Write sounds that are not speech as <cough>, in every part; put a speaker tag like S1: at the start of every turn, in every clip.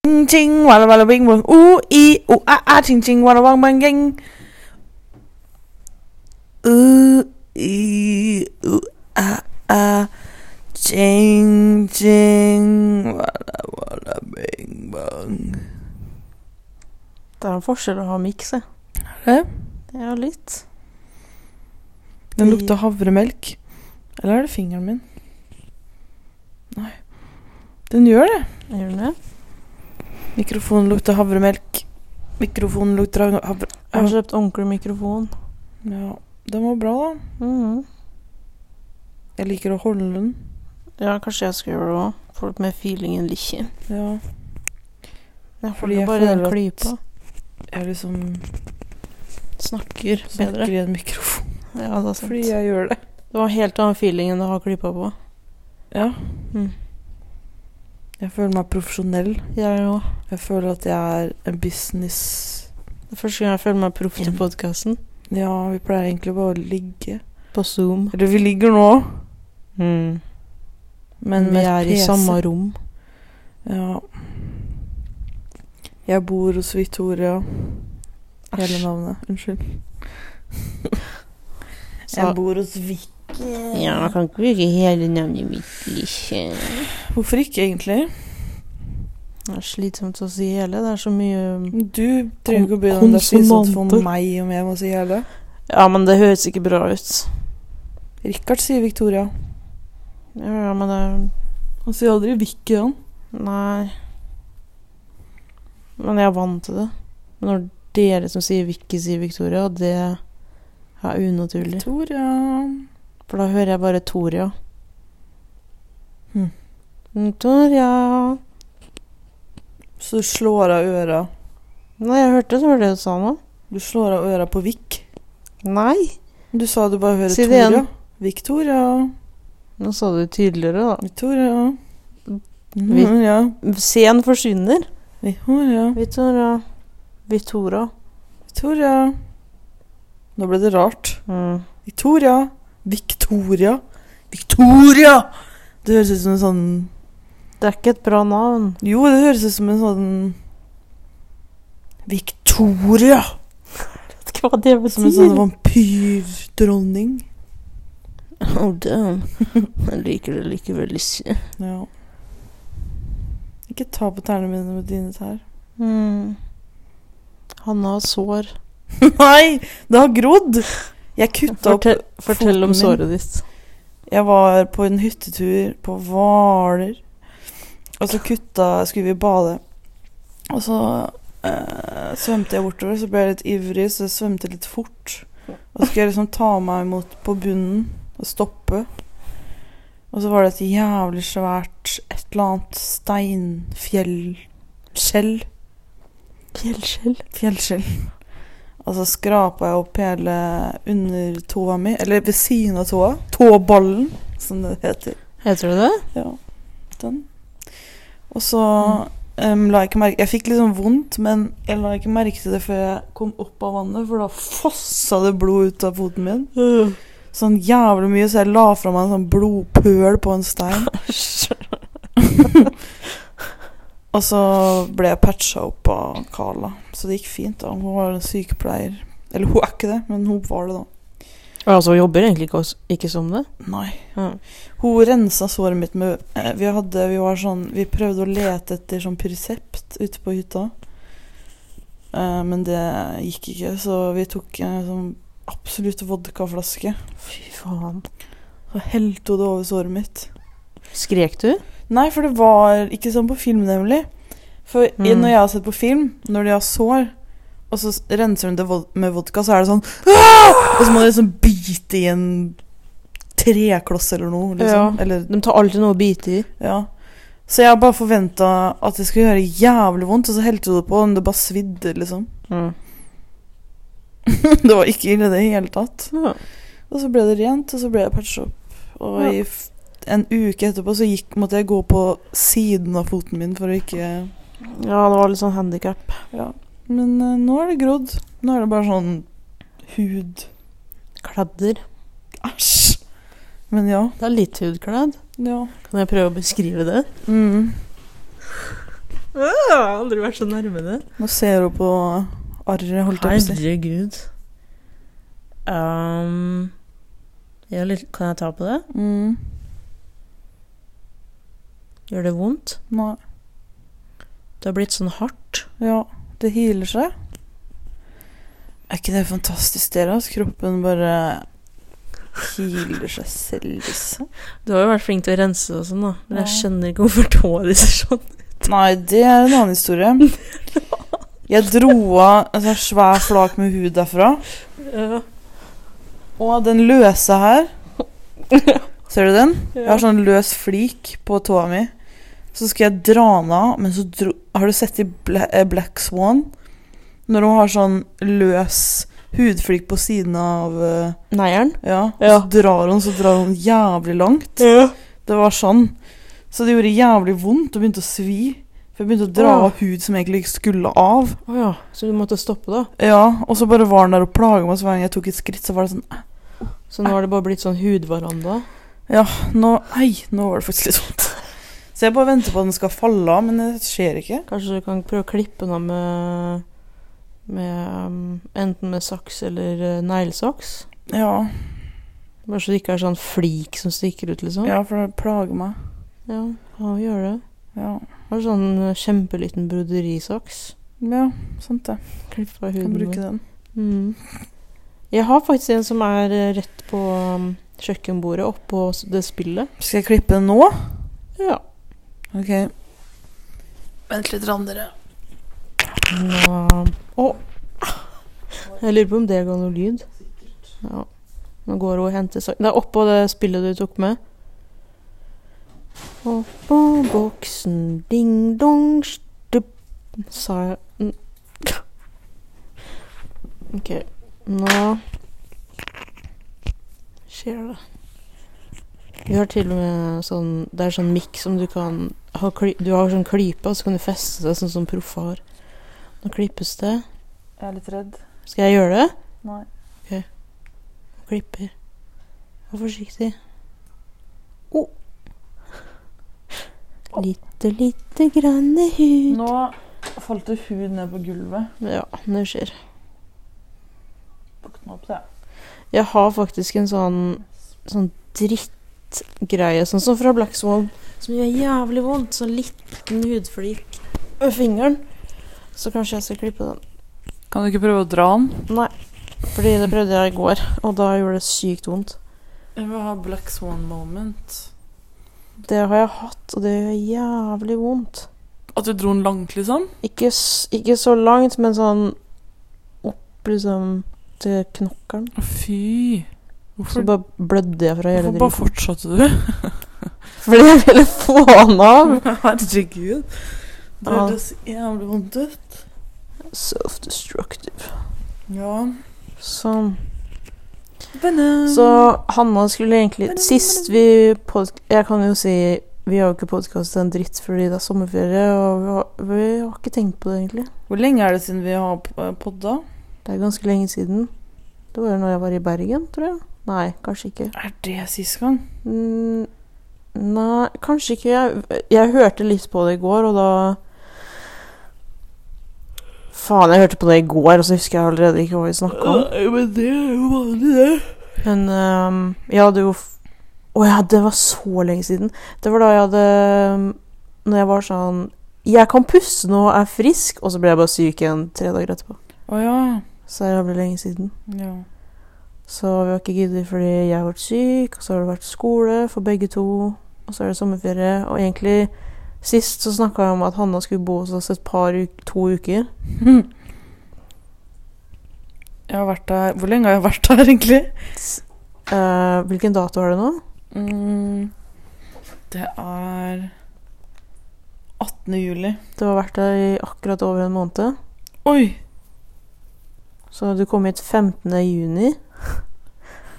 S1: 青青哇啦哇啦冰文，呜一呜啊啊，青青哇啦汪汪冰，呜一呜啊啊，青青哇啦哇啦冰文。
S2: Det er en forskjell å ha mikse.
S1: det?
S2: Ja, litt.
S1: Den
S2: I-
S1: lukter havremelk. Eller er det fingeren min? Nei. Den gjør det.
S2: Gjør den det?
S1: Mikrofonen lukter havremelk. Mikrofonen lukter hav- havre...
S2: Jeg har kjøpt ordentlig mikrofon.
S1: Ja, den var bra, da.
S2: Mhm.
S1: Jeg liker å holde den.
S2: Ja, kanskje jeg skal gjøre det òg. Få litt mer feeling enn likkje.
S1: Ja,
S2: Jeg
S1: Fordi
S2: holder
S1: jeg
S2: bare den
S1: føler at-
S2: klypa.
S1: jeg liksom
S2: Snakker
S1: snakker
S2: bedre.
S1: i en mikrofon
S2: Ja, det er sant.
S1: fordi jeg gjør det.
S2: Det var en helt annen feeling enn å ha klypa på.
S1: Ja.
S2: Mm.
S1: Jeg føler meg profesjonell.
S2: Jeg òg.
S1: Jeg føler at jeg er en business...
S2: Det er første gang jeg føler meg proff til podkasten.
S1: Ja, vi pleier egentlig bare å ligge.
S2: På Zoom.
S1: Eller vi ligger nå,
S2: Mm.
S1: men
S2: vi
S1: med
S2: er i
S1: PC.
S2: samme rom.
S1: Ja. Jeg bor hos Victoria. Hele
S2: Æsj.
S1: navnet.
S2: <laughs>
S1: Unnskyld.
S2: Så,
S1: bor hos Vicky.
S2: ja, jeg kan ikke bruke hele navnet mitt. Likkje.
S1: Hvorfor ikke, egentlig?
S2: Det er slitsomt å si hele. Det er så mye
S1: Du trenger ikke å begynne om det er slitsomt for
S2: Konsonanter.
S1: meg om jeg må si hele.
S2: Ja, men det høres ikke bra ut.
S1: Richard sier Victoria.
S2: Ja, ja, men det er
S1: Han sier aldri Vicky, han.
S2: Nei. Men jeg er vant til det. Men når dere som sier Vicky, sier Victoria, det er unaturlig.
S1: Victoria.
S2: For da hører jeg bare Toria.
S1: Hmm.
S2: Mm, Toria
S1: Så du slår av øra
S2: Nei, jeg hørte det som var det du sa nå.
S1: Du slår av øra på Vic.
S2: Nei.
S1: Du sa du bare hører
S2: Si det
S1: Toria.
S2: igjen.
S1: Victoria.
S2: Nå sa du det tydeligere, da.
S1: Victoria.
S2: Vi-
S1: Mhm, ja.
S2: C-en forsvinner.
S1: Victoria.
S2: Victoria. Victoria.
S1: Victoria. Nå ble det rart.
S2: Mm.
S1: Victoria. Victoria. Victoria! Det høres ut som en sånn
S2: Det er ikke et bra navn.
S1: Jo, det høres ut som en sånn Victoria!
S2: Jeg vet ikke hva det
S1: Som en
S2: <laughs>
S1: sånn vampyrdronning.
S2: Oh, damn. Jeg liker det likevel ikke.
S1: Ja. Ikke ta på tærne mine med dine tær. <laughs>
S2: Mm. Han har sår.
S1: Nei! Det har grodd! Jeg kutta opp
S2: Fortell, fortell
S1: foten
S2: om
S1: min.
S2: såret ditt.
S1: Jeg var på en hyttetur på Hvaler. Og så kutta Skulle vi bade. Og så eh, svømte jeg bortover, så ble jeg litt ivrig, så jeg svømte litt fort. Og så skulle jeg liksom ta meg imot på bunnen og stoppe. Og så var det et jævlig svært et eller annet steinfjellskjell.
S2: Fjellskjell.
S1: Fjellskjell. Og så skrapa jeg opp hele undertåa mi, eller ved siden av tåa. Tåballen, som det heter.
S2: Heter det <laughs> det?
S1: Ja, den. Og så em, la jeg ikke merke Jeg fikk litt sånn vondt, men jeg la ikke merke til det før jeg kom opp av vannet, for da fossa det blod ut av foten min. Sånn jævlig mye, så jeg la fra meg en sånn blodpøl på en stein. Og så ble jeg patcha opp av Carla, så det gikk fint. da. Hun var en sykepleier. Eller hun er ikke det, men hun var det da.
S2: Altså, hun jobber egentlig ikke, ikke som det.
S1: Nei.
S2: Mm.
S1: Hun rensa såret mitt med eh, Vi hadde, vi var sånn Vi prøvde å lete etter sånn Pyresept ute på hytta. Eh, men det gikk ikke, så vi tok en sånn absolutt vodkaflaske.
S2: Fy faen.
S1: Så helte hun det over såret mitt.
S2: Skrek du?
S1: Nei, for det var ikke sånn på film, nemlig. For i-
S2: Mm.
S1: når jeg har sett på film, når de har sår, og så s- renser hun det vod med vodka, så er det sånn
S2: Ah!
S1: «Åh!» Og så må du liksom bite i en trekloss eller noe, liksom.
S2: Ja.
S1: Eller
S2: De tar alltid noe å bite i.
S1: Ja. Så jeg bare forventa at det skulle gjøre jævlig vondt, og så helte du det på, men det bare svidde, liksom. <laughs>
S2: Mm.
S1: det var ikke ille, det i hele tatt.
S2: Ja.
S1: Og så ble det rent, og så ble jeg patcha opp. Og
S2: Ja.
S1: i f en uke etterpå så gikk, måtte jeg gå på siden av foten min for å ikke
S2: ja, det var litt sånn handikap.
S1: Ja. Men eh, nå er det grodd. Nå er det bare sånn hud.
S2: Kladder.
S1: Æsj! Men ja.
S2: Det er litt hudkladd.
S1: Ja.
S2: Kan jeg prøve å beskrive det?
S1: Mm.
S2: Jeg har aldri vært så nærme det.
S1: Nå ser hun på arret, holdt jeg på å si.
S2: Herregud. Um, ja, litt, kan jeg ta på det?
S1: Mm.
S2: Gjør det vondt?
S1: Nei.
S2: Det har blitt sånn hardt.
S1: Ja, det hiler seg. Er ikke det fantastisk dere? At kroppen bare hiler seg selv, liksom.
S2: Du har jo vært flink til å rense og sånn, da. Men jeg
S1: Ja.
S2: skjønner ikke hvorfor tåa di ser <laughs> sånn
S1: Nei, det er en annen historie. <laughs> Jeg dro av en sånn svær flak med hud derfra.
S2: ut.
S1: Og den løse her Ser du den? Jeg har
S2: sånn.
S1: sånn løs flik på tåa mi. Så skal jeg dra den av, men så dro Har du sett i Bla eh, Black Swan? Når hun har sånn løs hudflik på siden av eh,
S2: Neieren?
S1: Ja. Og
S2: Ja.
S1: så drar hun, så drar hun jævlig langt.
S2: Ja.
S1: Det var sånn. Så det gjorde jævlig vondt og begynte å svi. For jeg begynte å dra
S2: Åh.
S1: av hud som jeg egentlig ikke skulle av.
S2: Å ja. Så du måtte stoppe, da?
S1: Ja, Og så bare var den der og plaga meg, så hver gang jeg tok et skritt, så var det sånn
S2: Så nå har det bare blitt sånn hudveranda?
S1: «Ah, Nå, ei, nå var det faktisk litt vondt. Så jeg bare venter på at den skal falle av, men det skjer ikke.
S2: Kanskje du kan prøve å klippe den av med, med um, Enten med saks eller uh, neglesaks?
S1: Ja,
S2: Bare så det ikke er sånn flik som stikker ut, liksom?
S1: ja for det plager meg.
S2: ja, ja gjør det.
S1: Ja.
S2: Har sånn uh, kjempeliten broderisaks.
S1: ja, sant det.
S2: Klippe av
S1: Kan
S2: huden.
S1: bruke den.
S2: Mm. Jeg har faktisk en som er eh, rett på um, kjøkkenbordet, oppå s- det spillet.
S1: Skal jeg klippe den nå?
S2: Ja.
S1: Ok. Vent litt, dere.
S2: Nå Å! Jeg lurer på om det ga noe lyd. Ja. Nå går hun og henter sak... Det er oppå det spillet du tok med. Oppå boksen, ding-dong, stup Sa jeg N- OK. Nå skjer det. Vi har til og med sånn Det er sånn mikk som du kan ha kly, Du har sånn klype, og så kan du feste det sånn som proffe har. Nå klippes det.
S1: Jeg er litt redd.
S2: Skal jeg gjøre det?
S1: Nei.
S2: Nå klipper. Vær forsiktig. Oh. Litt og <laughs> lite grann hud.
S1: Nå falt det hud ned på gulvet.
S2: Ja, det skjer.
S1: Våkna opp, det.
S2: Jeg har faktisk en sånn, sånn drittgreie, sånn som fra Black Swan, som gjør jævlig vondt. Sånn liten hudflik med fingeren. Så kanskje jeg skal klippe den.
S1: Kan du ikke prøve å dra den?
S2: Nei, fordi det prøvde jeg i går, og da gjorde det sykt vondt.
S1: Jeg vil ha Black Swan moment.
S2: Det har jeg hatt, og det gjør jævlig vondt.
S1: At du dro den langt, liksom?
S2: Ikke, s- ikke så langt, men sånn opp liksom til knokkelen.
S1: Fy.
S2: Så bare blødde jeg fra hele
S1: hvorfor bare fortsatte
S2: driten.
S1: du?
S2: Fordi jeg ville få den av!
S1: <laughs> Herregud. Det
S2: Ja.
S1: hørtes jævlig vondt ut.
S2: Self-destructive.
S1: Ja.
S2: Sånn.
S1: Banan.
S2: Så Hanna skulle egentlig Sist vi pod... Jeg kan jo si vi har jo ikke podkastet en dritt fordi det er sommerferie, og vi har, vi har ikke tenkt på det, egentlig.
S1: Hvor lenge er det siden vi har p- eh, podda?
S2: Det er ganske lenge siden. Det var jo når jeg var i Bergen, tror jeg. Nei, kanskje ikke.
S1: Er det sist gang?
S2: Mm, Nei, kanskje ikke. Jeg, jeg hørte litt på det i går, og da Faen, jeg hørte på det i går, og så husker jeg allerede ikke hva vi snakka om.
S1: Nei, men det er jo vanlig, det.
S2: Men ehm, jeg hadde jo f- Å ja, det var så lenge siden. Det var da jeg hadde ehm, Når jeg var sånn Jeg kan puste nå, er frisk, og så ble jeg bare syk igjen tre dager etterpå.
S1: Å ja.
S2: Så det er jævlig lenge siden.
S1: ja.
S2: <laughs> Så vi har ikke giddet fordi jeg har vært syk, og så har det vært skole for begge to, og så er det sommerferie. Og egentlig sist så snakka jeg om at Hanna skulle bo hos oss et par uk to uker.
S1: Jeg har vært der Hvor lenge har jeg vært der, egentlig?
S2: Eh, hvilken dato er det nå?
S1: Mm, det er 18. juli.
S2: Du har vært der i akkurat over en måned.
S1: Oi!
S2: Så du kom hit 15. juni.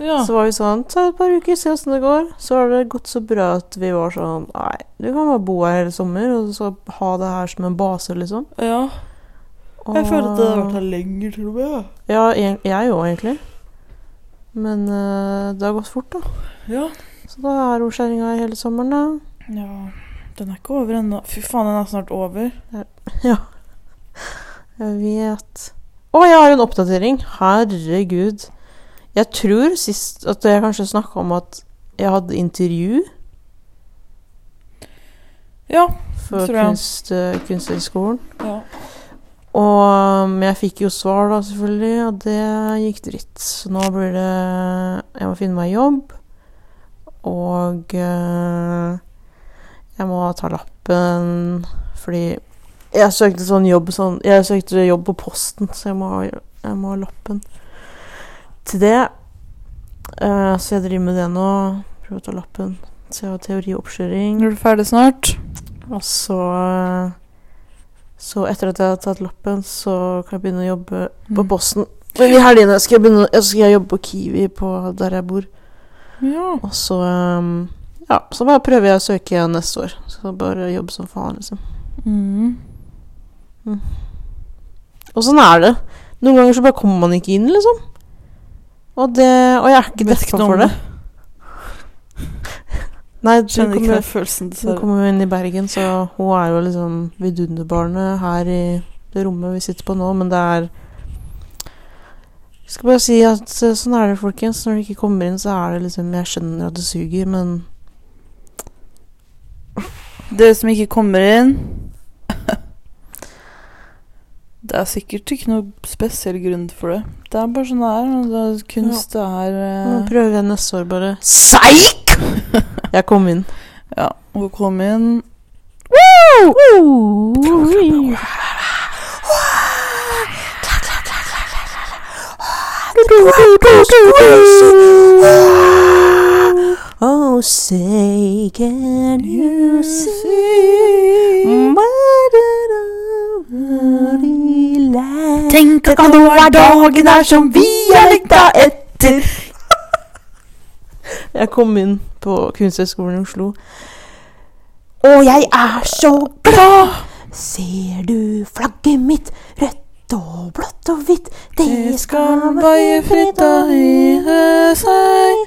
S1: Ja.
S2: Så var vi sånn Ta et par uker, se åssen det går. Så har det gått så bra at vi var sånn Nei, du kan bare bo her hele sommer, og så ha det her som en base, liksom.
S1: ja.
S2: Og...
S1: Jeg føler at det har vært her lenger, til og med.
S2: Ja, jeg òg, egentlig. Men eh, det har gått fort, da.
S1: Ja.
S2: Så da er hun kjerringa her hele sommeren, da.
S1: ja. Den er ikke over ennå. Fy faen, den er snart over.
S2: Jeg vet Å, jeg har en oppdatering! Herregud. Jeg tror sist at jeg kanskje snakka om at jeg hadde intervju
S1: Ja.
S2: for
S1: Tror jeg.
S2: kunst, eh, Kunsthøgskolen.
S1: ja.
S2: Og um, jeg fikk jo svar, da, selvfølgelig, og det gikk dritt. Så nå blir det Jeg må finne meg jobb, og eh, jeg må ta lappen fordi jeg søkte sånn jobb sånn Jeg søkte jobb på posten, så jeg må, ha- jeg må ha lappen til det. Eh, så jeg driver med det nå. Prøver å ta lappen. Så jeg har teorioppkjøring.
S1: Er du ferdig snart?
S2: Og så eh, Så etter at jeg har tatt lappen, så kan jeg begynne å jobbe på
S1: Mm.
S2: Posten. Men i helgene skal jeg, begynne, jeg skal jobbe på Kiwi, på der jeg bor.
S1: Ja.
S2: Og så ehm, Ja, så bare prøver jeg å søke igjen neste år. Så bare jobbe som faen, liksom.
S1: Mm.
S2: Og sånn er det. Noen ganger så bare kommer man ikke inn, liksom. Og, det, og jeg er ikke
S1: Vet ikke
S2: dekka
S1: noe om
S2: for det. Nei, du
S1: Kjenner ikke
S2: kommer,
S1: den følelsen,
S2: Nå
S1: dessverre.
S2: kommer hun inn i Bergen, så hun er jo liksom vidunderbarnet her i det rommet vi sitter på nå, men det er Jeg skal bare si at eh, sånn er det, folkens. Når du ikke kommer inn, så er det liksom Jeg skjønner at det suger, men
S1: Dere som ikke kommer inn <laughs> Det er sikkert ikke noe spesiell grunn for det. Det er bare sånn det er. og det er Kunst det er
S2: nå
S1: eh,
S2: prøver jeg neste år bare Seik! Jeg kom inn.
S1: Ja, hun kom inn.
S2: Oh, say can you see
S1: Tenk at nå er dagen her som vi er lengta etter.
S2: Jeg kom inn på Kunsthøgskolen i Oslo. Og jeg er så glad! Ser du flagget mitt? Rødt og blått og hvitt.
S1: Det skal vaie fritt og hive seg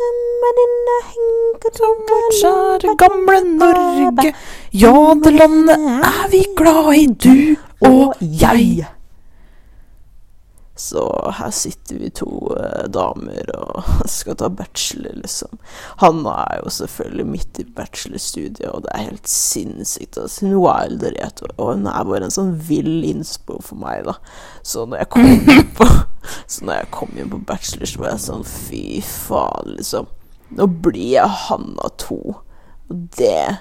S2: Mm, er
S1: som vårt kjære gamle Norge. Ja, det landet er vi glad i, du og jeg.
S2: Så her sitter vi to eh, damer og <laughs> skal ta bachelor, liksom. Hanna er jo selvfølgelig midt i bachelorstudiet, og det er helt sinnssykt. Altså. Hun wilder i et år, og hun er bare en sånn vill innspo for meg, da. Så når jeg kom
S1: <laughs>
S2: inn på, så når jeg kom inn på bachelor, så var jeg sånn fy faen, liksom. Nå blir jeg Hanna 2. Og det er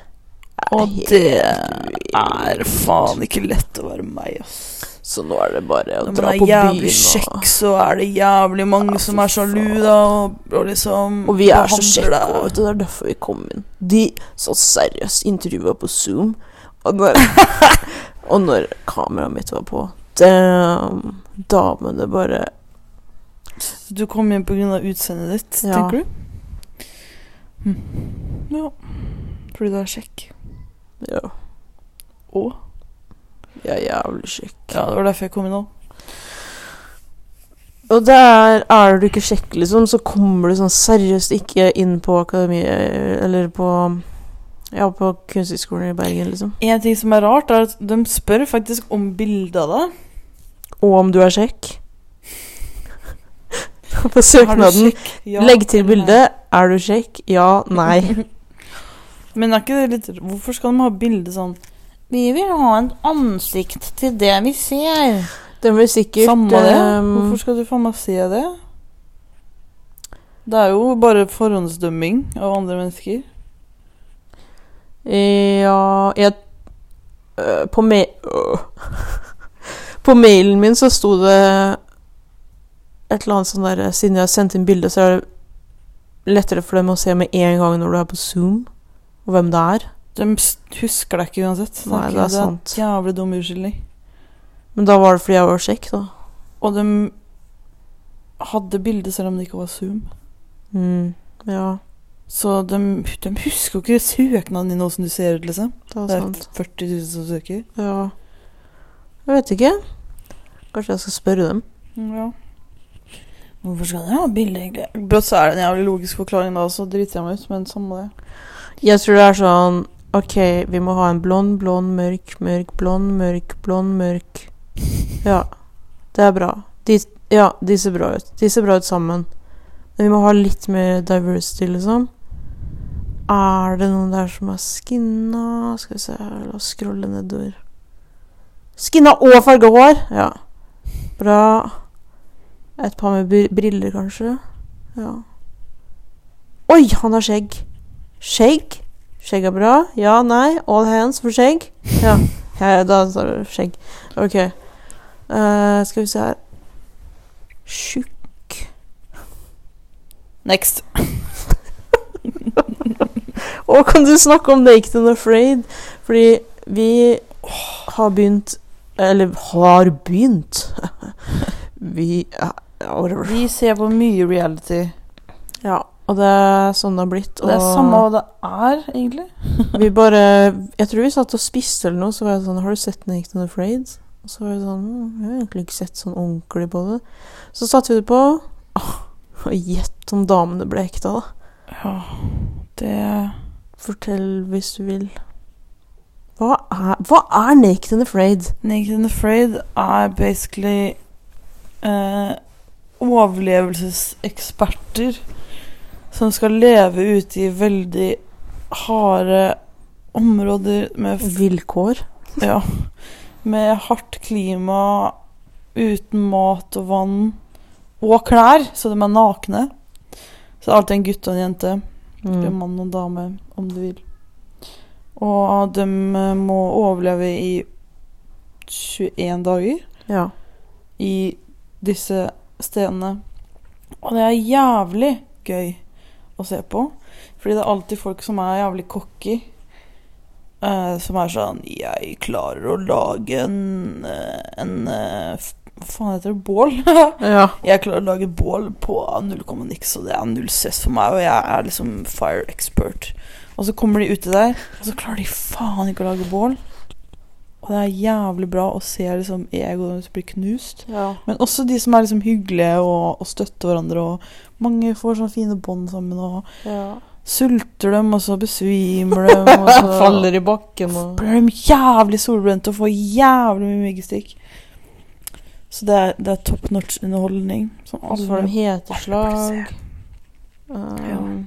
S1: Og
S2: helt
S1: det
S2: vilt.
S1: er faen ikke lett å være meg, ass.
S2: Så nå er det bare å
S1: Når man
S2: dra
S1: er
S2: på byen
S1: jævlig kjekk,
S2: og
S1: så er det jævlig mange
S2: Ja,
S1: som
S2: fy
S1: er sjalu,
S2: faen.
S1: da, og, og liksom
S2: Og vi er så
S1: behandler
S2: kjekke,
S1: deg-
S2: og vet du, det er derfor vi kom inn. De så seriøst intervjua på Zoom, og
S1: <laughs>
S2: når, og når kameraet mitt var på det, Damene bare
S1: Så du kom inn pga. utseendet ditt,
S2: Ja.
S1: tenker du? Hm. Ja. Fordi du er kjekk.
S2: Ja,
S1: Og?
S2: jeg er jævlig kjekk.
S1: Ja, det var derfor jeg kom inn òg.
S2: Og det er, er du ikke kjekk, liksom, så kommer du sånn seriøst ikke inn på akademiet Eller på Ja, på Kunsthøgskolen i Bergen, liksom.
S1: En ting som er rart, er at de spør faktisk om bilde av deg.
S2: Og om du er
S1: <laughs>
S2: kjekk. På
S1: Er du
S2: søknaden
S1: kjekk? Ja
S2: Legg til
S1: eller nei?
S2: bildet. Er du kjekk? Ja. Nei.
S1: <laughs> Men er ikke det litt Hvorfor skal de ha bilde sånn Vi vil ha et ansikt til det vi ser.
S2: Den blir sikkert
S1: Samme det.
S2: ehm,
S1: eh, Hvorfor skal du faen meg se det? Det er jo bare forhåndsdømming av andre mennesker.
S2: Ja jeg, øh, på, ma øh. <laughs> på mailen min så sto det et eller annet sånn der Siden jeg har sendt inn bilde, så er det lettere for dem å se med en gang når du er på Zoom, og hvem det er.
S1: De s- husker deg ikke uansett.
S2: Nei,
S1: Tenker
S2: det er
S1: jeg,
S2: sant.
S1: Det er jævlig dum unnskyldning.
S2: Men da var det fordi jeg var kjekk, da.
S1: Og de hadde bilde selv om det ikke var Zoom.
S2: Mm, ja,
S1: Så de, de husker jo ikke søknaden din, åssen du ser ut, liksom.
S2: det var
S1: Det er
S2: sant.
S1: 40 000 som søker.
S2: Ja. Jeg vet ikke. Kanskje jeg skal spørre dem.
S1: Ja. Hvorfor skal dere ha bilde, egentlig? Brått så er det en jævlig logisk forklaring da, så driter jeg meg ut, men samme det.
S2: Jeg tror det er sånn OK, vi må ha en blond, blond, mørk, mørk, blond, mørk, blond, mørk. Ja. Det er bra. De, ja, de ser bra ut. De ser bra ut sammen. Men vi må ha litt mer diversity, liksom. Er det noen der som er skinna? Skal vi se her, la oss scrolle nedover. Skinna og farga hår! Ja. Bra. Et par med br- briller, kanskje. Ja. Oi, han har skjegg. Skjegg? Skjegg er bra. Ja, nei. All hands for skjegg. Ja, ja da sa du skjegg. Ok. Eh, skal vi se her Tjukk
S1: Next.
S2: Å, kan du snakke om Naked and Afraid? Fordi vi har begynt Eller har begynt. <laughs> vi ja, ja, whatever.
S1: Vi ser på mye reality.
S2: Ja, og det er sånn det har blitt.
S1: Det er
S2: og-
S1: samme hva det er, egentlig.
S2: Vi bare Jeg tror vi satt og spiste eller noe, så var jeg sånn Har du sett Naked and Afraid? Og så var jeg sånn «Hm, Jeg har egentlig ikke sett sånn ordentlig på det. Så satte vi det på. Åh, Og gjett om damene ble ekte, da.
S1: Ja, det
S2: Fortell hvis du vil. Hva er, hva er Naked and Afraid?
S1: Naked and Afraid er basically eh, overlevelseseksperter som skal leve ute i veldig harde områder med f-
S2: Vilkår?
S1: Ja. Med hardt klima, uten mat og vann. Og klær, så de er nakne. Så det er alltid en gutt og en jente. Eller
S2: Mm.
S1: mann og dame, om du vil. Og de eh, må overleve i 21 dager
S2: Ja.
S1: i disse stedene. Og det er jævlig gøy å se på. Fordi det er alltid folk som er jævlig cocky. eh, som er sånn 'Jeg klarer å lage en, eh, en eh, f- Hva faen heter det? Bål? <laughs>
S2: ja.
S1: Jeg klarer å lage bål på 0,9, og det er null stress for meg. Og jeg er liksom fire expert. Og så kommer de uti der, og så klarer de faen ikke å lage bål. Og det er jævlig bra å se liksom egoet deres bli knust.
S2: ja.
S1: Men også de som er liksom hyggelige og, og støtter hverandre. Og mange får sånne fine bånd sammen. Og
S2: <laughs>
S1: sulter dem, og så besvimer dem. Og så
S2: <laughs> Faller i bakken og
S1: blir de jævlig solbrente og får jævlig mye myggestikk. Så det er, det er top notch underholdning. Som
S2: Og så får de heteslag. Um,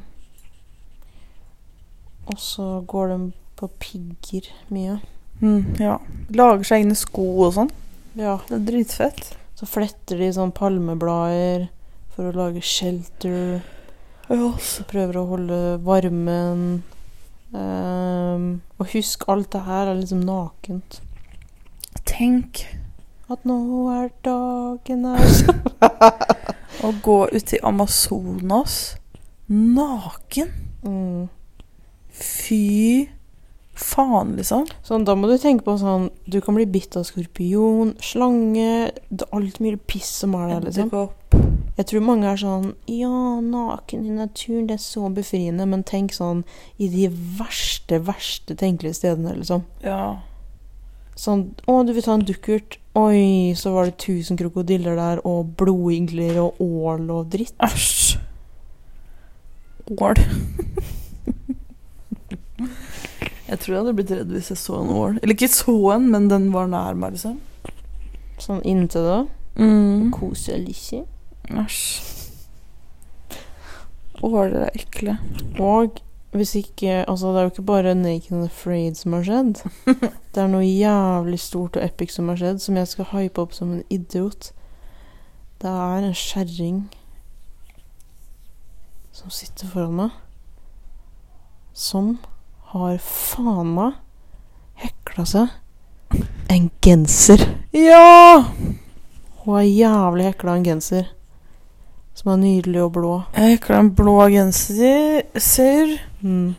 S2: og så går de på pigger mye.
S1: Mm, ja. Lager seg egne sko og sånn.
S2: Ja.
S1: Det er dritfett.
S2: Så fletter de sånn palmeblader for å lage shelter.
S1: altså.
S2: De prøver å holde varmen. Ehm, og husk, alt det her er liksom nakent.
S1: Tenk
S2: At nå er dagen her.
S1: å gå ut i Amazonas naken.
S2: Mm.
S1: Fy faen, liksom.
S2: Sånn, da må du tenke på sånn Du kan bli bitt av skorpion, slange Det er alt mye piss som er der, liksom.
S1: Edderkopp.
S2: Jeg tror mange er sånn Ja, naken i naturen, det er så befriende. Men tenk sånn i de verste, verste tenkelige stedene, liksom.
S1: Ja.
S2: Sånn Å, du vil ta en dukkert. Oi, så var det 1000 krokodiller der, og blodigler og ål og dritt.
S1: Æsj. Ål. <laughs> jeg tror jeg hadde blitt redd hvis jeg så en ål. Eller ikke så en, men den var nær meg, liksom.
S2: Sånn inntil det.
S1: Mm.
S2: Koselig.
S1: Æsj. Åler er ekle.
S2: Og hvis ikke Altså, det er jo ikke bare Naked and Afraid som har skjedd. Det er noe jævlig stort og epic som har skjedd, som jeg skal hype opp som en idiot. Det er en kjerring som sitter foran meg, som har faen meg hekla seg en genser.
S1: Ja!
S2: Hun har jævlig hekla en genser som er nydelig og blå.
S1: Jeg hekla en blå genser. Ser.
S2: Mm.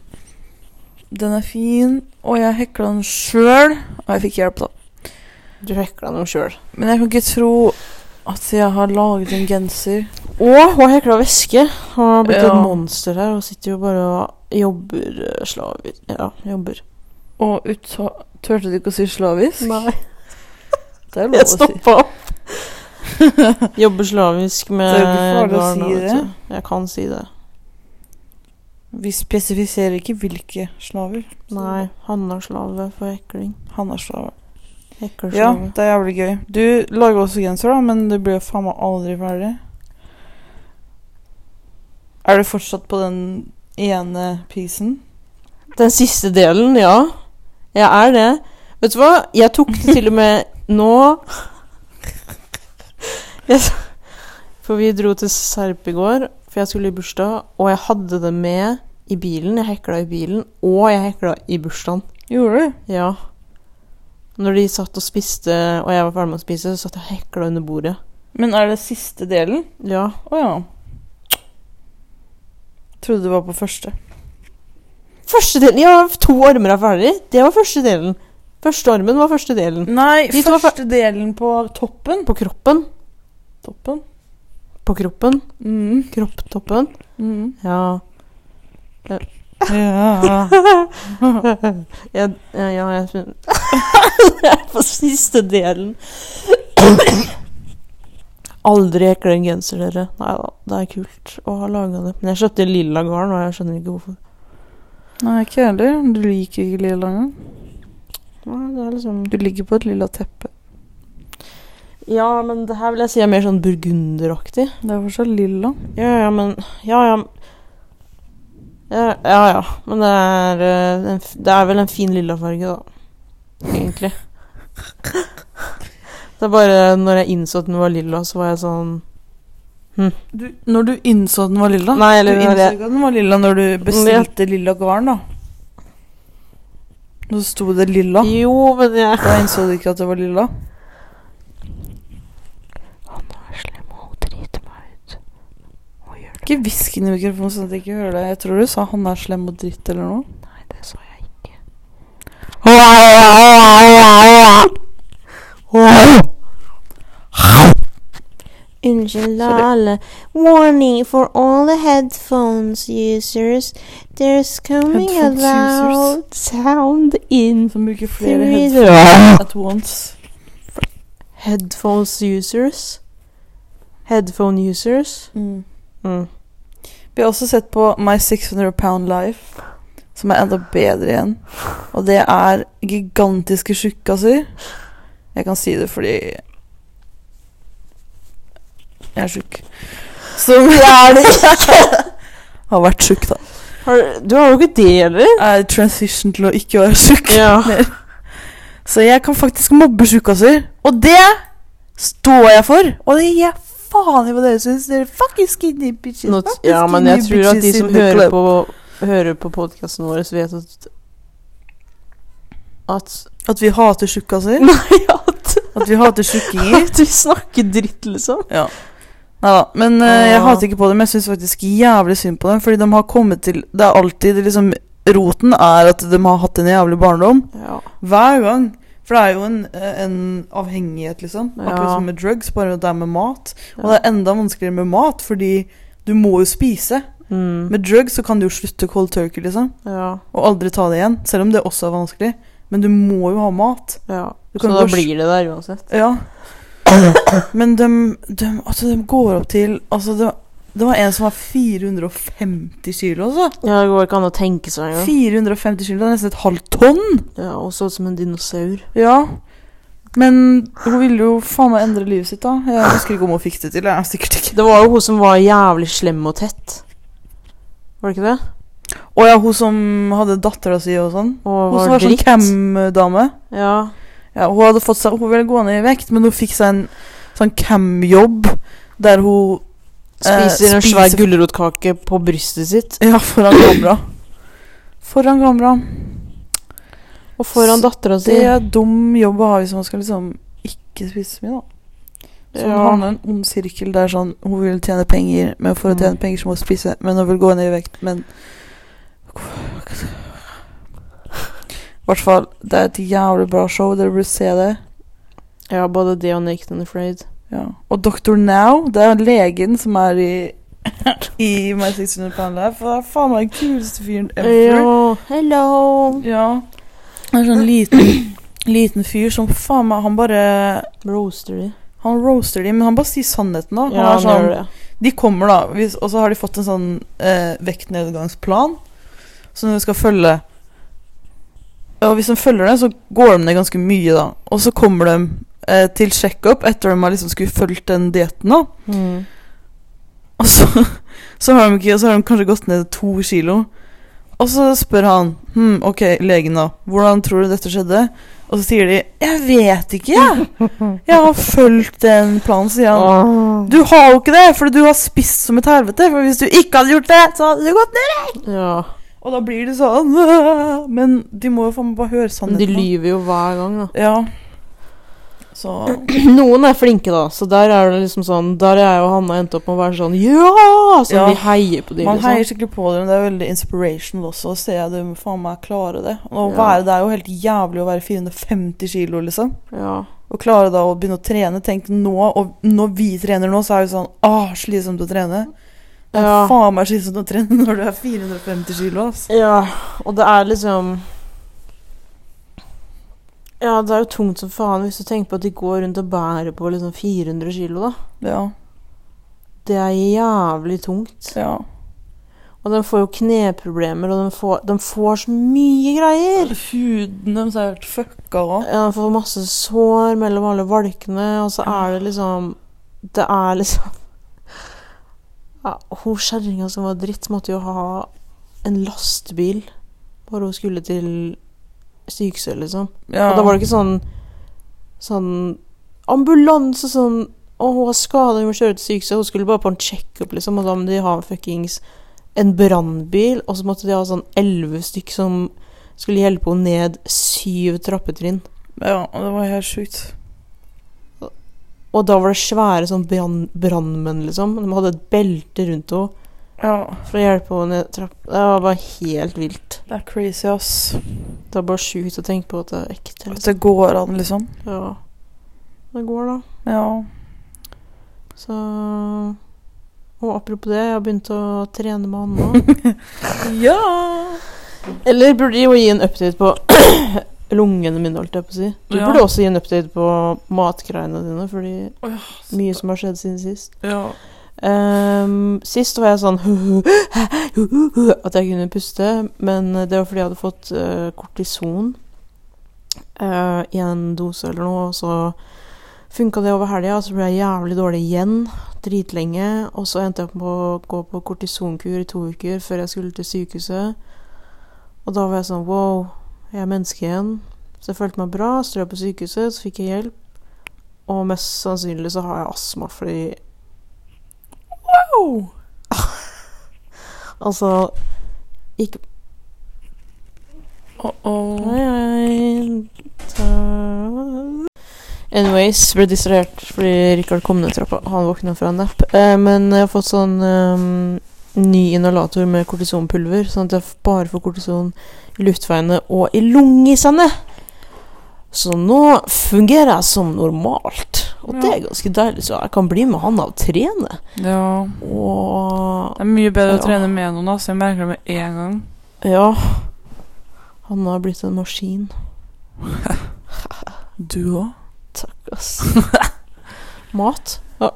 S1: Den er fin. Og jeg hekla den sjøl. Og jeg fikk hjelp, da.
S2: Du hekla noe sjøl.
S1: Men jeg kan ikke tro at jeg har laget en genser.
S2: Og hun hekla væske. Hun har blitt
S1: Ja.
S2: et monster her og sitter jo bare og jobber eh, slaver. Ja, jobber.
S1: Og utta- turte du ikke å si slavisk? Det er
S2: <laughs> jeg
S1: lov å si.
S2: stoppa opp.
S1: <laughs>
S2: jobber slavisk med
S1: Det er jo ikke farlig å si
S2: vet
S1: det.
S2: du. Jeg kan si det.
S1: Vi spesifiserer ikke hvilke slaver.
S2: Nei, Hanna-slave for hekling.
S1: Han er slave. Ja,
S2: Hekkerslave.
S1: det er jævlig gøy. Du lager også genser, da, men du blir jo faen meg aldri ferdig. Er du fortsatt på den ene pisen?
S2: Den siste delen, ja. Jeg er det. Vet du hva? Jeg tok det til og med <laughs> nå jeg, For vi dro til Serp i går, for jeg skulle i bursdag, og jeg hadde det med i bilen. Jeg hekla i bilen, og jeg hekla i bursdagen.
S1: Gjorde du?
S2: Ja. Når de satt og spiste, og jeg var ferdig med å spise, så satt jeg og hekla under bordet.
S1: Men er det siste delen?
S2: Ja.
S1: Å ja. Trodde det var på første.
S2: Første delen Ja, to armer er ferdig. Det var første delen. Første armen var første delen.
S1: Nei,
S2: Vi tar
S1: første delen på toppen.
S2: På kroppen.
S1: Toppen?
S2: På kroppen.
S1: Mm.
S2: Kropptoppen. <laughs> Ja.
S1: Ja.
S2: Jeg, ja, ja, jeg skjønner. Det er <laughs> på siste delen. Aldri hekler en genser, dere. Nei da, det er kult å ha laga det. Men jeg kjøpte lilla garn, og jeg skjønner ikke hvorfor.
S1: Nei, ikke jeg heller. Du liker ikke lilla engang.
S2: Nei, det er liksom...
S1: Du ligger på et lilla teppe.
S2: Ja, men det her vil jeg si er mer sånn burgunderaktig.
S1: Det er fortsatt lilla.
S2: Ja, ja, men Ja, ja. Ja, ja. ja. Men det er, eh, en, f- det er vel en fin lilla farge, da. Egentlig. Det er bare når jeg innså at den var lilla, så var jeg sånn
S1: Du, når du innså den var lilla?
S2: Nei, eller
S1: du
S2: når
S1: innså
S2: jeg-
S1: ikke at den var lilla når du bestilte lilla garn, da. Så sto det lilla.
S2: Jo, men jeg
S1: Da innså du ikke at det var lilla.
S2: Han er slem og driter meg ut. Og gjør
S1: Ikke hvisk inn i mikrofonen sånn at jeg ikke hører deg. Jeg tror du sa 'han er slem og dritt' eller noe.
S2: Nei, det sa jeg ikke. Unnskyld, alle. Warning for all the headphones users. There's coming
S1: Headphones
S2: a loud sound in
S1: Som bruker flere
S2: Theresa.
S1: headphones at once.
S2: Headphones users? Headphone users? Mm.
S1: Vi har også sett på My 600 Pound Life, som er enda bedre igjen. Og det er gigantiske tjukkaser. Jeg kan si det fordi jeg er tjukk.
S2: <laughs>
S1: Som jeg er det ikke! har vært tjukk, da.
S2: Har, du har jo ikke det, eller?
S1: Er transition til å ikke være tjukk.
S2: Ja.
S1: Så jeg kan faktisk mobbe tjukkaser. Og det står jeg for! Og det gir jeg faen i hva dere syns. Dere er fucking skinny bitches.
S2: Nå-
S1: fucking
S2: ja, men jeg
S1: skinny
S2: tror at de
S1: bitches
S2: som
S1: in the
S2: hører
S1: club.
S2: på, hører på podkasten vår, vet at At
S1: At vi hater tjukkaser?
S2: Nei, <laughs> at,
S1: At vi hater tjukkinger?
S2: <laughs> at vi snakker dritt, liksom.
S1: Ja. Nei da. Men eh, jeg
S2: Ja.
S1: hater ikke på dem. Jeg syns faktisk jævlig synd på dem. Fordi de har kommet til Det er alltid liksom Roten er at de har hatt en jævlig barndom.
S2: Ja.
S1: Hver gang. For det er jo en, eh, en avhengighet, liksom. Akkurat
S2: Ja.
S1: som med drugs, bare at det er med mat. Og
S2: Ja.
S1: det er enda vanskeligere med mat, fordi du må jo spise.
S2: Mm,
S1: Med drugs så kan du jo slutte cold turkey, liksom.
S2: ja,
S1: Og aldri ta det igjen. Selv om det også er vanskelig. Men du må jo ha mat.
S2: ja.
S1: Du
S2: Så
S1: kan
S2: da
S1: gå-
S2: blir det der uansett.
S1: Ja. Men de, de, altså, de går opp til Altså, det, det var en som var 450 kilo, altså.
S2: Ja, Det går ikke an å tenke seg engang.
S1: 450 kilo, det er nesten et halvt tonn.
S2: Ja, og så ut som en dinosaur.
S1: Ja. Men hun ville jo faen meg endre livet sitt, da. Jeg husker ikke om hun fikk det til. Jeg er sikkert ikke
S2: Det var jo hun som var jævlig slem og tett. Var det ikke det?
S1: Å ja, hun som hadde dattera si og sånn. Hun som
S2: Og var
S1: var sånn
S2: dritt.
S1: cam-dame.
S2: Ja.
S1: Ja, hun hadde fått seg Hun ville gå ned i vekt, men hun fikk seg en sånn cam-jobb der hun Eh,
S2: Spiser en svær
S1: spiser-
S2: gulrotkake på brystet sitt.
S1: Ja, foran kamera. Foran kamera.
S2: Og foran dattera si.
S1: Det er dum jobb å ha hvis man skal liksom ikke spise så mye, da. Så hun
S2: Ja.
S1: havner i en ond sirkel der sånn hun vil tjene penger, men for å tjene
S2: Mm.
S1: penger så må hun spise, men hun vil gå ned i vekt, men I hvert fall, det er et jævlig bra show, dere burde se det.
S2: Ja, både det og Naked and Afraid.
S1: Ja. Og Dr. Now, det er legen som er i <laughs> i My 600 Pound Life, og det er faen meg den kuleste fyren ever.
S2: Ja, hello.
S1: Ja. Det er sånn liten, liten fyr som faen meg Han bare
S2: Roaster de.
S1: Han roaster de, men han bare sier sannheten, da. Han
S2: Ja,
S1: er sånn
S2: det.
S1: De kommer, da, hvis, og så har de fått en sånn eh, vektnedgangsplan som de skal følge. Og hvis de følger den, så går de ned ganske mye, da. Og så kommer de eh, til sjekkup etter de har liksom skulle fulgt den dietten, da.
S2: Mm.
S1: Og så, <laughs> så, har de ikke, så har de kanskje gått ned to kilo. Og så spør han hm, Ok, legen, da. Hvordan tror du dette skjedde? Og så sier de Jeg vet ikke, jeg. Jeg har fulgt den planen, sier han.
S2: Åh.
S1: Du har jo ikke det, for du har spist som et helvete. For hvis du ikke hadde gjort det, så hadde du gått ned.
S2: Ja.
S1: Og da blir det sånn <laughs> «Åh!» Men de må jo faen meg bare høre
S2: Men de
S1: sannheten. da.
S2: lyver jo hver gang, da.
S1: Ja. Så
S2: <clears throat> Noen er flinke, da, så der er det liksom sånn Der er jeg og Hanna endt opp med å være sånn Ja! Så
S1: Ja.
S2: vi heier på dem.
S1: Man
S2: Liksom.
S1: heier skikkelig på dem. Det er veldig inspirational også å se dem faen meg klare det. Og å
S2: Ja.
S1: være, Det er jo helt jævlig å være 450 kilo, liksom.
S2: Ja.
S1: Og klare da å begynne å trene. Tenk nå, og når vi trener nå, så er det sånn Åh, slitsomt å trene. Det er
S2: Ja.
S1: faen meg slitsomt å trene <laughs> når du er 450 kilo, ass.
S2: ja. Og det er liksom Ja, det er jo tungt som faen hvis du tenker på at de går rundt og bærer på liksom 400 kilo, da.
S1: Ja.
S2: Det er jævlig tungt.
S1: ja.
S2: Og de får jo kneproblemer, og de får, de får så mye greier!
S1: Huden deres er helt fucka òg.
S2: Ja, han får masse sår mellom alle valkene, og så er det liksom Det er liksom ja, Hun kjerringa som var dritt, måtte jo ha en lastebil bare hun skulle til sykehuset, liksom.
S1: Ja.
S2: Og da var det ikke sånn Sånn ambulanse, sånn Å, hun har skada, hun må kjøre til sykehuset. Hun skulle bare på en checkup, liksom, og da må de ha en fuckings en brannbil, og så måtte de ha sånn elleve stykk som skulle hjelpe henne ned syv trappetrinn.
S1: ja, og det var helt sjukt.
S2: Og da var det svære sånn brann- brannmenn, liksom. De hadde et belte rundt henne
S1: Ja.
S2: for å hjelpe henne ned trapp... Det var bare helt vilt.
S1: Det er crazy, ass.
S2: Det er bare sjukt å tenke på at det er ekte.
S1: At
S2: Liksom.
S1: det går an, liksom.
S2: Ja. Det går, da.
S1: Ja.
S2: Så Og apropos det, jeg har begynt å trene
S1: <laughs>
S2: med Hanna.
S1: ja.
S2: Eller burde jeg jo gi en update på <coughs> lungene mine, holdt jeg på å si. Du
S1: Ja.
S2: burde også gi en update på matgreiene dine, fordi
S1: Å ja,
S2: mye som har skjedd siden sist.
S1: ja.
S2: Ehm, sist var jeg sånn <laughs> At jeg kunne puste, men det var fordi jeg hadde fått eh, kortison eh, i en dose eller noe, og så funka det over helga, og så ble jeg jævlig dårlig igjen dritlenge. Og så endte jeg opp med å gå på kortisonkur i to uker før jeg skulle til sykehuset. Og da var jeg sånn Wow, jeg er menneske igjen. Så jeg følte meg bra, så dro jeg på sykehuset, så fikk jeg hjelp. Og mest sannsynlig så har jeg astma fordi Wow! altså ikke
S1: Å, å.
S2: Nei, nei ta- Anyways, ble distrahert fordi Rikard kom ned trappa. Han våkna fra en napp. Eh, men jeg har fått sånn ehm, ny inhalator med kortisonpulver, sånn at jeg f- bare får kortison i luftveiene og i lungesene. Så nå fungerer jeg som normalt. Og det er ganske deilig, så jeg kan bli med han og trene.
S1: Ja.
S2: Og
S1: Det er mye bedre å
S2: Ja.
S1: trene med noen, ass. Jeg merker det med en gang.
S2: Ja. Han har blitt en maskin.
S1: Du òg?
S2: Takk, ass. Mat. Ja,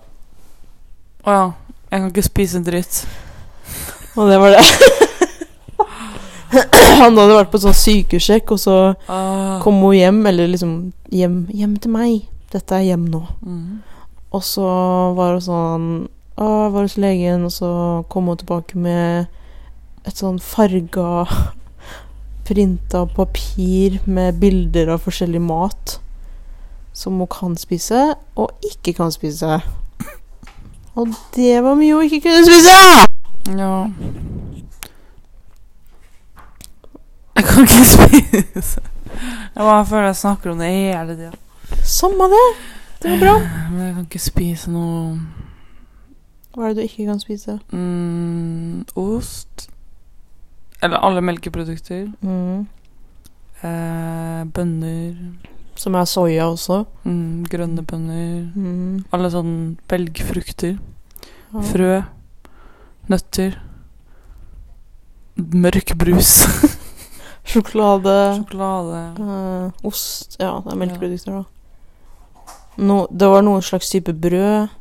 S1: Å ja. Jeg kan ikke spise en dritt.
S2: og det <laughs> var det. Han hadde vært på sånn sykehussjekk, og så
S1: Ah.
S2: kom hun hjem, eller liksom hjem, hjem til meg. Dette er hjem nå.
S1: Mm.
S2: Og så var hun sånn Å, jeg var hos legen, og så kom hun tilbake med et sånn farga <laughs> Printa papir med bilder av forskjellig mat som hun kan spise, og ikke kan spise. Og det var mye hun ikke kunne spise!
S1: Ja. Jeg kan ikke <laughs> spise Jeg bare føler jeg snakker om det hele tida.
S2: Samme det! Det var bra.
S1: Men jeg kan ikke spise noe
S2: Hva er det du ikke kan spise?
S1: mm, ost. Eller alle melkeprodukter.
S2: Mm.
S1: Eh, bønner.
S2: Som er soya også.
S1: Mm, grønne bønner.
S2: Mm.
S1: Alle sånne belgfrukter.
S2: Ja.
S1: Frø. Nøtter. Mørk brus.
S2: Sjokolade.
S1: <laughs> Sjokolade.
S2: Eh, ost Ja, det er melkeprodukter, da. No, det var noen slags type brød.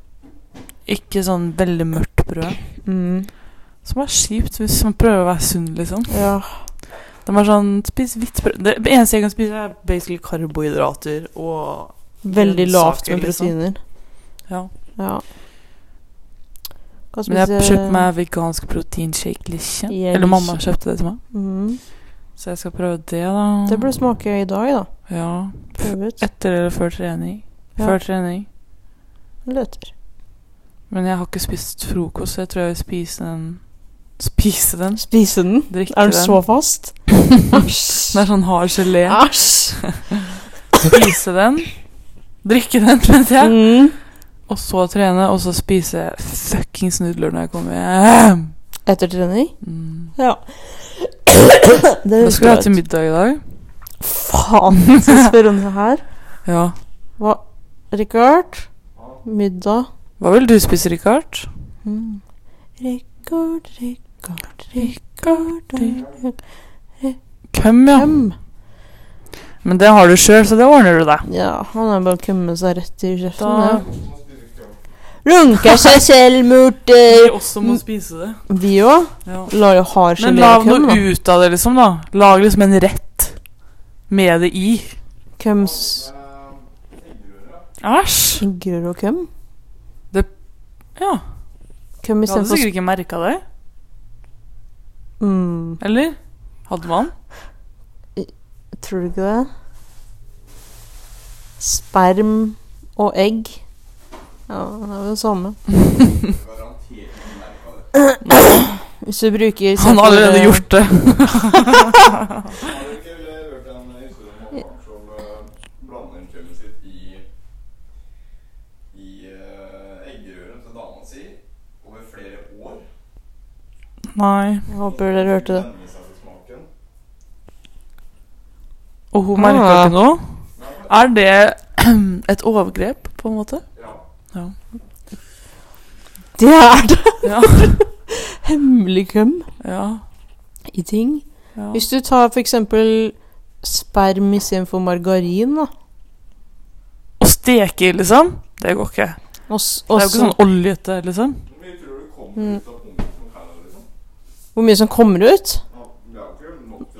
S1: Ikke sånn veldig mørkt opprøret.
S2: Mm.
S1: Som er kjipt hvis man prøver å være sunn, liksom.
S2: Ja.
S1: De er sånn Spis hvitt brød Det eneste jeg kan spise, er basically karbohydrater og
S2: Veldig lavt med
S1: Grønnsaker, liksom.
S2: proteiner.
S1: Ja.
S2: Ja. Hva
S1: Men jeg
S2: spiser-
S1: kjøpte meg vegansk proteinshake lisje.
S2: Jeg
S1: Eller mamma
S2: liker-
S1: kjøpte det til meg.
S2: Mhm.
S1: Så jeg skal prøve det, da.
S2: Det burde smake i dag, da.
S1: Ja.
S2: Prøve ut.
S1: Etter eller før trening.
S2: Ja.
S1: Før trening.
S2: Løter.
S1: Men jeg har ikke spist frokost, så jeg tror jeg vil spise den Spise den?
S2: Spise den?
S1: Drikke
S2: Er den
S1: den? <laughs>
S2: så fast?
S1: Den er
S2: Æsj.
S1: sånn hard gelé.
S2: Æsj.
S1: Spise den. Drikke den, mens jeg
S2: Mm.
S1: Og så trene, og så spise fuckings nudler når jeg kommer hjem.
S2: Etter trening?
S1: Mm.
S2: Ja. Det
S1: Hva skal du ha
S2: husker
S1: til
S2: jeg.
S1: middag i dag?
S2: Faen, skal jeg spørre om det her?
S1: Ja.
S2: Hva Rikard? Middag?
S1: Hva vil du spise, Richard?
S2: Mm. Rikard, Rikard, Rikard Rikard.
S1: Køm, ja.
S2: Hvem?
S1: Men det har du sjøl, så det ordner du deg.
S2: Ja, han er bare kommet seg rett i kjeften.
S1: Da-
S2: ja. Runker seg selv mot eh,
S1: også
S2: må
S1: spise det.
S2: Vi òg la jo hard
S1: Men
S2: gelé
S1: lag
S2: og køm,
S1: noe
S2: da.
S1: ut av det, liksom, da. Lag liksom en rett med det i.
S2: Køms
S1: Æsj.
S2: Fingrør og køm?
S1: Ja.
S2: Køm
S1: Du hadde
S2: istedenfor
S1: sikkert ikke merka det.
S2: mm,
S1: Eller? Hadde man?
S2: Tror du ikke det? Sperm og egg. Ja, det er jo det samme. Hvis du bruker
S1: Han har allerede gjort det. Nei.
S2: Jeg håper dere hørte det.
S1: Og hun merka
S2: Ah.
S1: ikke noe? Er det <clears throat> et overgrep, på en måte?
S2: Det er det!
S1: <laughs> Ja.
S2: Hemmelig køm
S1: Ja.
S2: i ting.
S1: ja.
S2: Hvis du tar for eksempel sperm istedenfor margarin, da.
S1: Å steke i, liksom? Det går ikke.
S2: Og s-
S1: Det
S2: og
S1: er jo ikke
S2: så-
S1: sånn oljete, liksom.
S2: Mm. Hvor mye som kommer ut?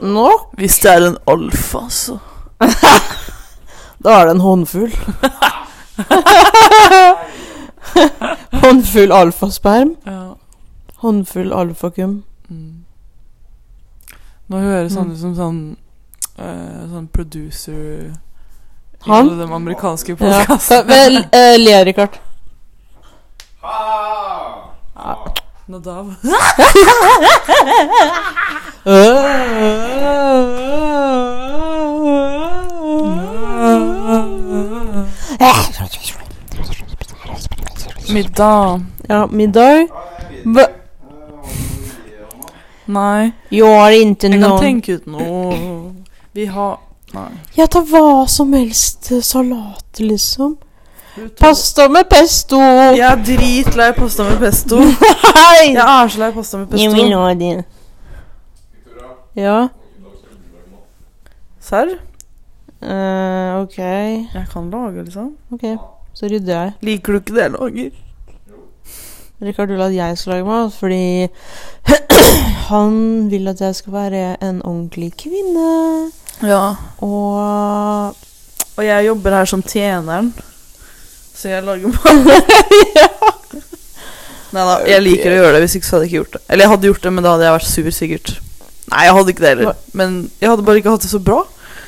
S2: Nå?
S1: Hvis det er en altså. alfa, så
S2: Da er det en
S1: <laughs>
S2: håndfull. håndfull alfasperm.
S1: Ja.
S2: Håndfull alfakum.
S1: Mm. Nå høres han
S2: Mm.
S1: ut som sånn eh, Sånn producer i
S2: Han?
S1: alle de amerikanske
S2: Ja.
S1: podkastene.
S2: <laughs> Vel, eh, le, Rikard.
S1: Nadav. Øh. Middag.
S2: Ja, middag. Hva?
S1: Nei.
S2: Jeg har ikke
S1: Jeg kan
S2: noen
S1: tenke ut noe. Vi har Nei.
S2: Jeg tar hva som helst eh, salat, liksom.
S1: Pass.
S2: Pasta med pesto.
S1: Jeg
S2: <laughs>
S1: er dritlei pasta med pesto.
S2: Hei!
S1: Jeg er så lei pasta med
S2: Jeg vil
S1: pesto.
S2: ha det. Ja.
S1: Serr?
S2: eh, ok.
S1: Jeg kan lage, liksom.
S2: Ok, så rydder jeg.
S1: Liker du ikke det jeg lager?
S2: Rikard vil at jeg skal lage mat, fordi <clears throat> han vil at jeg skal være en ordentlig kvinne.
S1: Ja.
S2: Og
S1: Og jeg jobber her som tjeneren, så jeg <laughs> lager mat. Nei da, jeg liker å gjøre det. Hvis ikke så hadde jeg ikke gjort det. Eller jeg hadde gjort det, men da hadde jeg vært sur, sikkert. Nei, jeg hadde ikke det heller. Men jeg hadde bare ikke hatt det så bra.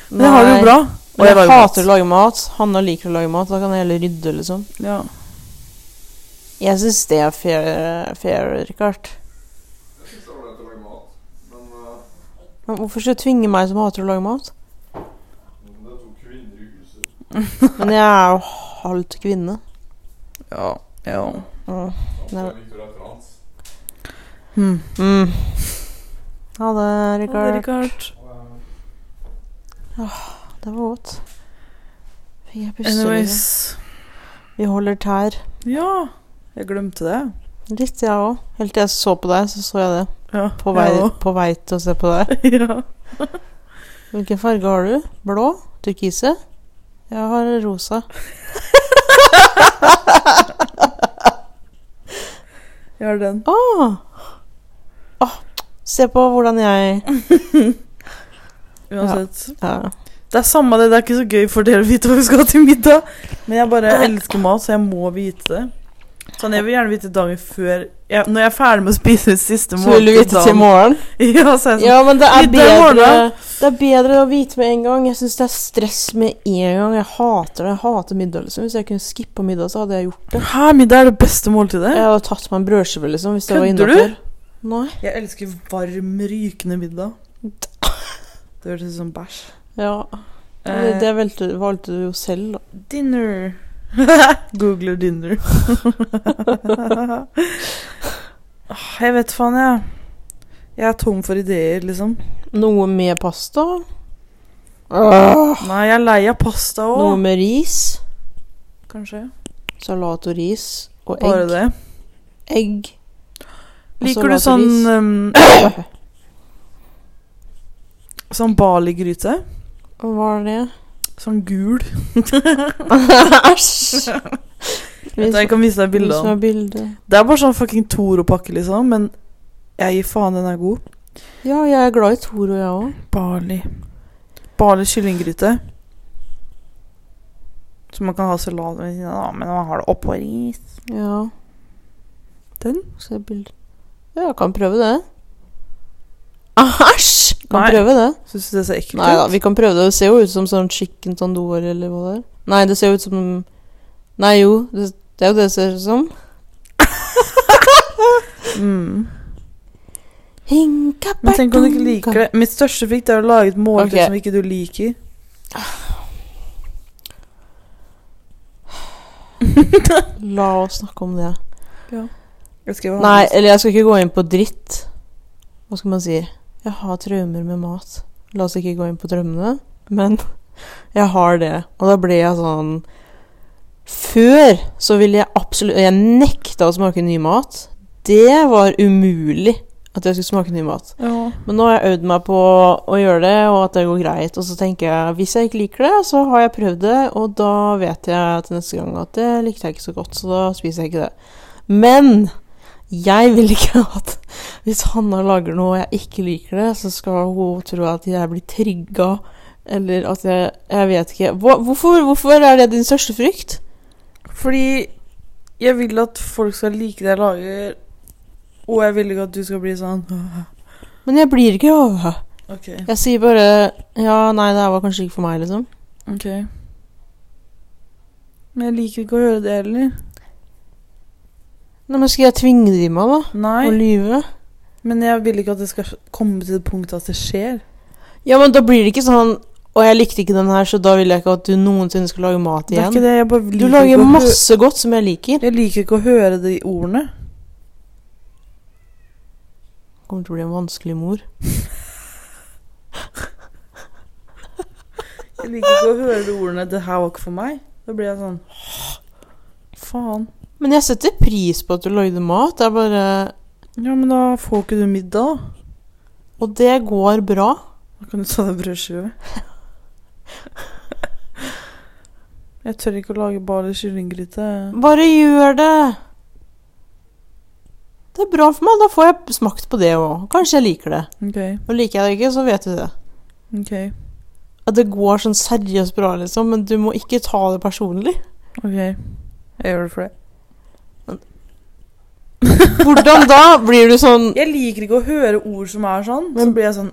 S1: Men jeg har det jo
S2: Nei,
S1: bra.
S2: men jeg hater å lage mat. Hanna liker å lage mat. Da kan jeg heller rydde, liksom.
S1: Ja.
S2: Jeg syns det er fair, fair, Rikard. Men hvorfor skal du tvinge meg som hater å lage mat? <laughs> Men jeg er jo halvt kvinne.
S1: Ja. ja.
S2: Ja.
S1: Hmm.
S2: Mm. Ha det, Rikard.
S1: Richard.
S2: Det var godt. Fikk jeg pustelyd?
S1: Anyways.
S2: Vi holder tær.
S1: Ja. Jeg glemte det.
S2: Litt, jeg òg. Helt til jeg så på deg, så så jeg det.
S1: Ja.
S2: På vei,
S1: jeg
S2: på vei til å se på deg.
S1: også. <laughs> ja.
S2: Hvilken farge har du? Blå? Turkise? Jeg har rosa.
S1: Jeg Gjør den.
S2: Ah. Ah, se på hvordan jeg
S1: Uansett.
S2: ja.
S1: Det er samme det, det er ikke så gøy for dere å vite hva vi skal ha til middag. Men jeg bare elsker mat, så jeg må vite det. Sånn, Jeg vil gjerne vite dagen før jeg, Når jeg er ferdig med å spise det siste
S2: Så vil du vite til
S1: dagen- <laughs>
S2: morgen?
S1: Ja, så er jeg sånn
S2: Ja, men det er
S1: Litt der var
S2: bedre Det er bedre å vite med en gang. Jeg syns det er stress med en gang. Jeg hater det. Jeg hater middag, liksom. Hvis jeg kunne skippa middag, så hadde jeg gjort det.
S1: Hæ, middag er det beste måltidet?
S2: Jeg hadde tatt meg en brødskive, liksom, hvis det var
S1: Kødder
S2: innafor. Nei.
S1: Jeg elsker varm, rykende middag. Det hørtes ut som bæsj. Eh,
S2: Ja. Det, det valgte, valgte du jo selv, da. <laughs>
S1: Dinner. Googler dinner. Ah, jeg vet faen, jeg. Jeg er tom for ideer, liksom.
S2: Noe med pasta. Åh.
S1: Nei, jeg er lei av pasta
S2: Noe
S1: òg.
S2: med ris.
S1: Kanskje.
S2: Salat og ris. Og
S1: Bare
S2: egg.
S1: det.
S2: Egg. Og
S1: Liker du
S2: salat og
S1: sånn
S2: ris.
S1: um, Sånn Bali-gryte?
S2: Hva
S1: <laughs>
S2: var det?
S1: Sånn
S2: <laughs>
S1: gul.
S2: Æsj!
S1: Vet du, jeg kan vise deg bilde av den.
S2: Vis meg bildet.
S1: Det er bare sånn fucking Toro-pakke, liksom. Men jeg gir faen, den er god.
S2: Ja, jeg er glad i Toro, jeg òg.
S1: Bali. Bali kyllinggryte. Så man kan ha salat ved siden av, men man har det oppå ris.
S2: Ja.
S1: Den?
S2: Se bildet. Ja, jeg kan prøve det. Æsj! Kan
S1: Nei.
S2: prøve det.
S1: Syns du det ser ekkelt
S2: Nei da,
S1: ut?
S2: vi kan prøve det. Det ser jo ut som sånn chicken tandoor eller hva det er. Nei, det ser jo ut som Nei jo, det, det er jo det det ser ut som.
S1: <laughs> Mm.
S2: Hinka,
S1: Men tenk om du ikke liker det. Mitt største frykt er å lage et måltid
S2: Ok.
S1: som ikke du liker.
S2: La oss snakke om det.
S1: Jeg skrev hva
S2: Nei,
S1: han
S2: eller jeg skal ikke gå inn på dritt. Hva skal man si? Jeg har traumer med mat. La oss ikke gå inn på drømmene, men <laughs> jeg har det. Og da ble jeg sånn Før så ville jeg absolutt Jeg nekta å smake ny mat. Det var umulig at jeg skulle smake ny mat.
S1: sa. Ja.
S2: Men nå har jeg øvd meg på å gjøre det, og at det går greit. Og så tenker jeg hvis jeg ikke liker det, så har jeg prøvd det, og da vet jeg til neste gang at det likte jeg ikke så godt, så da spiser jeg ikke det. Men jeg vil ikke <laughs> at hvis Hanna lager noe og jeg ikke liker det, så skal hun tro at jeg blir trigga, eller at jeg Jeg vet ikke. Hva, hvorfor, hvorfor er det din største frykt?
S1: Fordi jeg vil at folk skal like det jeg lager, og jeg vil ikke at du skal bli sånn <laughs>
S2: Men jeg blir ikke over.
S1: OK.
S2: Jeg sier bare Ja, nei, det her var kanskje ikke for meg, liksom.
S1: ok Men jeg liker ikke å gjøre det heller.
S2: Nei, men skal jeg tvinge det i meg, da? Å
S1: Nei.
S2: lyve?
S1: Men jeg vil ikke at det skal komme til det punktet at det skjer.
S2: Ja, men da blir det ikke sånn Og jeg likte ikke den her, så da vil jeg ikke at du noensinne skal lage mat
S1: Det er
S2: igjen.
S1: ikke det, jeg bare
S2: Du
S1: liker
S2: lager
S1: ikke å hø-
S2: masse godt som jeg liker.
S1: Jeg liker ikke å høre de ordene.
S2: Kommer til å bli en vanskelig mor.
S1: Jeg liker ikke å høre de ordene 'det her var ikke for meg'. Da blir jeg sånn <gasps> «Åh, Faen.
S2: Men jeg setter pris på at du lagde mat. Det er bare
S1: Ja, men da får ikke du middag, da.
S2: Og det går bra.
S1: Da kan du ta deg brødskive. Jeg tør ikke å lage bare kyllinggryte.
S2: Bare gjør det. Det er bra for meg. Da får jeg smakt på det òg. Kanskje jeg liker det.
S1: OK.
S2: Og liker jeg det ikke, så vet du det.
S1: OK.
S2: At det går sånn seriøst bra, liksom, men du må ikke ta det personlig.
S1: ok Jeg gjør det for det.
S2: Hvordan da? Blir du sånn
S1: Jeg liker ikke å høre ord som er sånn. Så
S2: Men-
S1: blir jeg sånn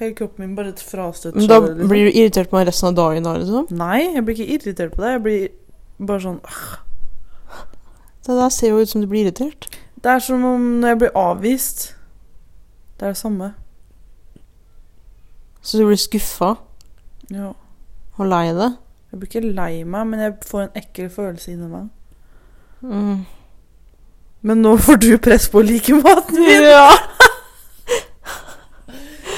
S1: Hele kroppen min bare frastøter. sånn, liksom.
S2: Da blir du irritert på meg resten av dagen da, liksom?
S1: Nei, jeg blir ikke irritert på det. Jeg blir bare sånn
S2: Det der ser jo ut som du blir irritert.
S1: Det er som om når jeg blir avvist. Det er det samme.
S2: Så du blir skuffa
S1: Ja.
S2: og lei deg.
S1: Jeg blir ikke lei meg, men jeg får en ekkel følelse inni meg.
S2: Mm.
S1: Men nå får du press på å like maten min!
S2: Ja.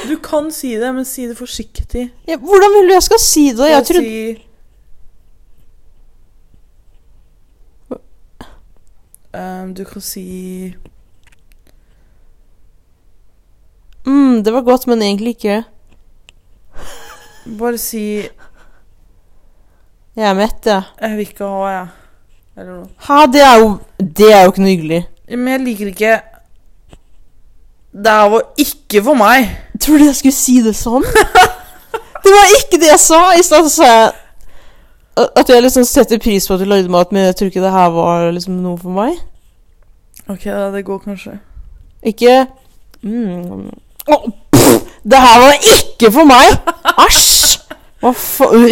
S1: Du kan si det, men si det forsiktig.
S2: Ja, Hvordan vil du jeg skal si det? Jeg trodde
S1: si Ehm, Du kan si
S2: mm, Det var godt, men egentlig ikke.
S1: Bare si 'Jeg
S2: Jeg er mett, jeg.
S1: vil ikke ha', jeg. Eller noe.
S2: Hæ, det er jo Det er jo ikke noe hyggelig.
S3: Men jeg liker ikke Det her var ikke for meg.
S2: Tror du jeg skulle si det <laughs> sånn? Det var ikke det jeg sa! I stedet sa jeg at jeg liksom setter pris på at du lagde mat, men jeg tror ikke det her var liksom noe for meg.
S1: Ok, ja, det går kanskje.
S2: Ikke mm. Å, pff, Det her var ikke for meg! Æsj! Hva faen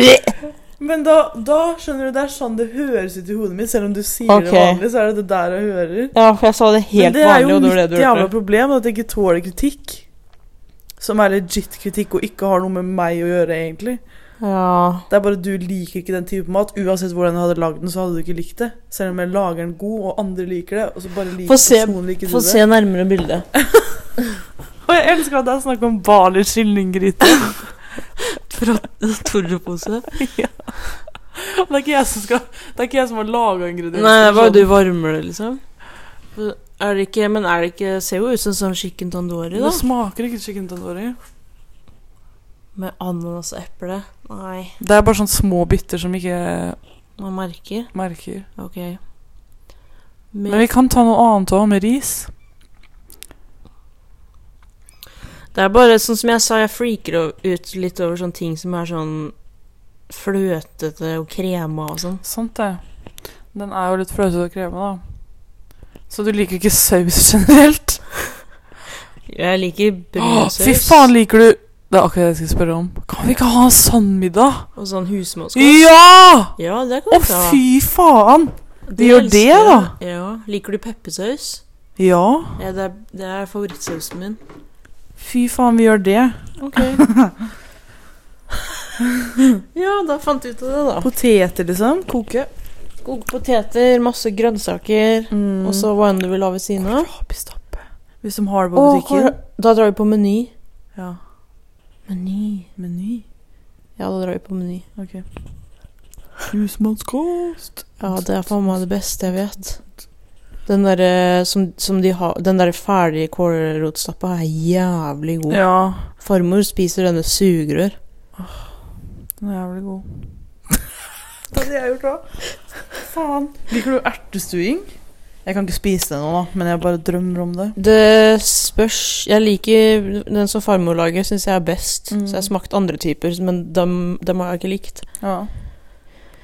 S1: Men da, da skjønner du, det er sånn det høres ut i hodet mitt. Selv om du sier
S2: Ok.
S1: det vanlig, så er det det der jeg hører.
S2: Ja, for jeg sa det
S1: Men
S2: helt
S1: det er
S2: vanlig,
S1: jo
S2: og det var det
S1: mitt
S2: du
S1: jævla
S2: hørte.
S1: problem, at jeg ikke tåler kritikk. Som er legit kritikk, og ikke har noe med meg å gjøre, egentlig.
S2: Ja.
S1: Det er bare du liker ikke den type mat. Uansett hvordan jeg hadde lagd den, så hadde du ikke likt det. Selv om jeg lager den god, og andre liker det, og så bare liker
S2: Få se-
S1: personen ikke
S2: Få
S1: du
S2: se nærmere
S1: <laughs>
S2: bildet.
S1: det. Og jeg elsker at det er snakk om Barley kyllinggryte. <laughs>
S2: Fra torrepose?
S1: Det er ikke jeg som skal Det er ikke jeg som har laga ingrediensene.
S2: Nei, bare
S1: sånn.
S2: du varmer det, liksom. Er det ikke, men er det ikke Ser jo ut som sånn chicken tandori, da.
S1: Det smaker ikke chicken tandoori.
S2: Med ananas og eple. Nei,
S1: Det er bare sånne små bytter som ikke
S2: man merker.
S1: merker.
S2: Ok.
S1: Men vi kan ta noe annet òg, med ris.
S2: Det er bare sånn som jeg sa, jeg freaker o- ut litt over sånne ting som er sånn fløtete og krema og sånn.
S1: Sant det. Den er jo litt fløtete og krevende, da. Så du liker ikke saus <laughs> generelt?
S2: Jeg liker
S1: Åh,
S2: brunsaus
S1: fy faen, liker du Det er akkurat det jeg skal spørre om. Kan vi ikke ha en sånn middag?
S2: og sånn husmannskap.
S1: Ja!
S2: Ja, det
S1: Å,
S2: kan vi ta.
S1: fy faen! vi gjør det,
S2: elsker jeg. Ja. Liker du peppersaus?
S1: Ja.
S2: Ja, det er, det er favorittsausen min.
S1: Fy faen, vi gjør det.
S2: Ok. <laughs> ja, da fant vi ut av det, da.
S1: Poteter, liksom. Koke.
S2: Koke poteter, masse grønnsaker,
S1: Mm.
S2: og så hva enn du vil ha ved siden av.
S1: Krabistappe. Hvis de har det på
S2: Åh, hvor,
S1: butikken.
S2: da drar vi på Meny.
S1: Ja.
S2: Meny.
S1: Meny.
S2: Ja, da drar vi på Meny.
S1: Husmannskost.
S2: Ja, det er faen meg det beste jeg vet. Den derre som, som de har Den derre ferdige kålrotstappa er jævlig god.
S1: Ja.
S2: Farmor spiser denne sugerør.
S1: Den er jævlig <laughs> god. Hva hadde jeg gjort da? Faen. Liker du ertestuing? Jeg kan ikke spise det nå, da, men jeg bare drømmer om det.
S2: Det spørs Jeg liker den som farmor lager, syns jeg er best.
S1: Mm.
S2: Så jeg har smakt andre typer, men dem, dem har jeg ikke likt.
S1: Ja.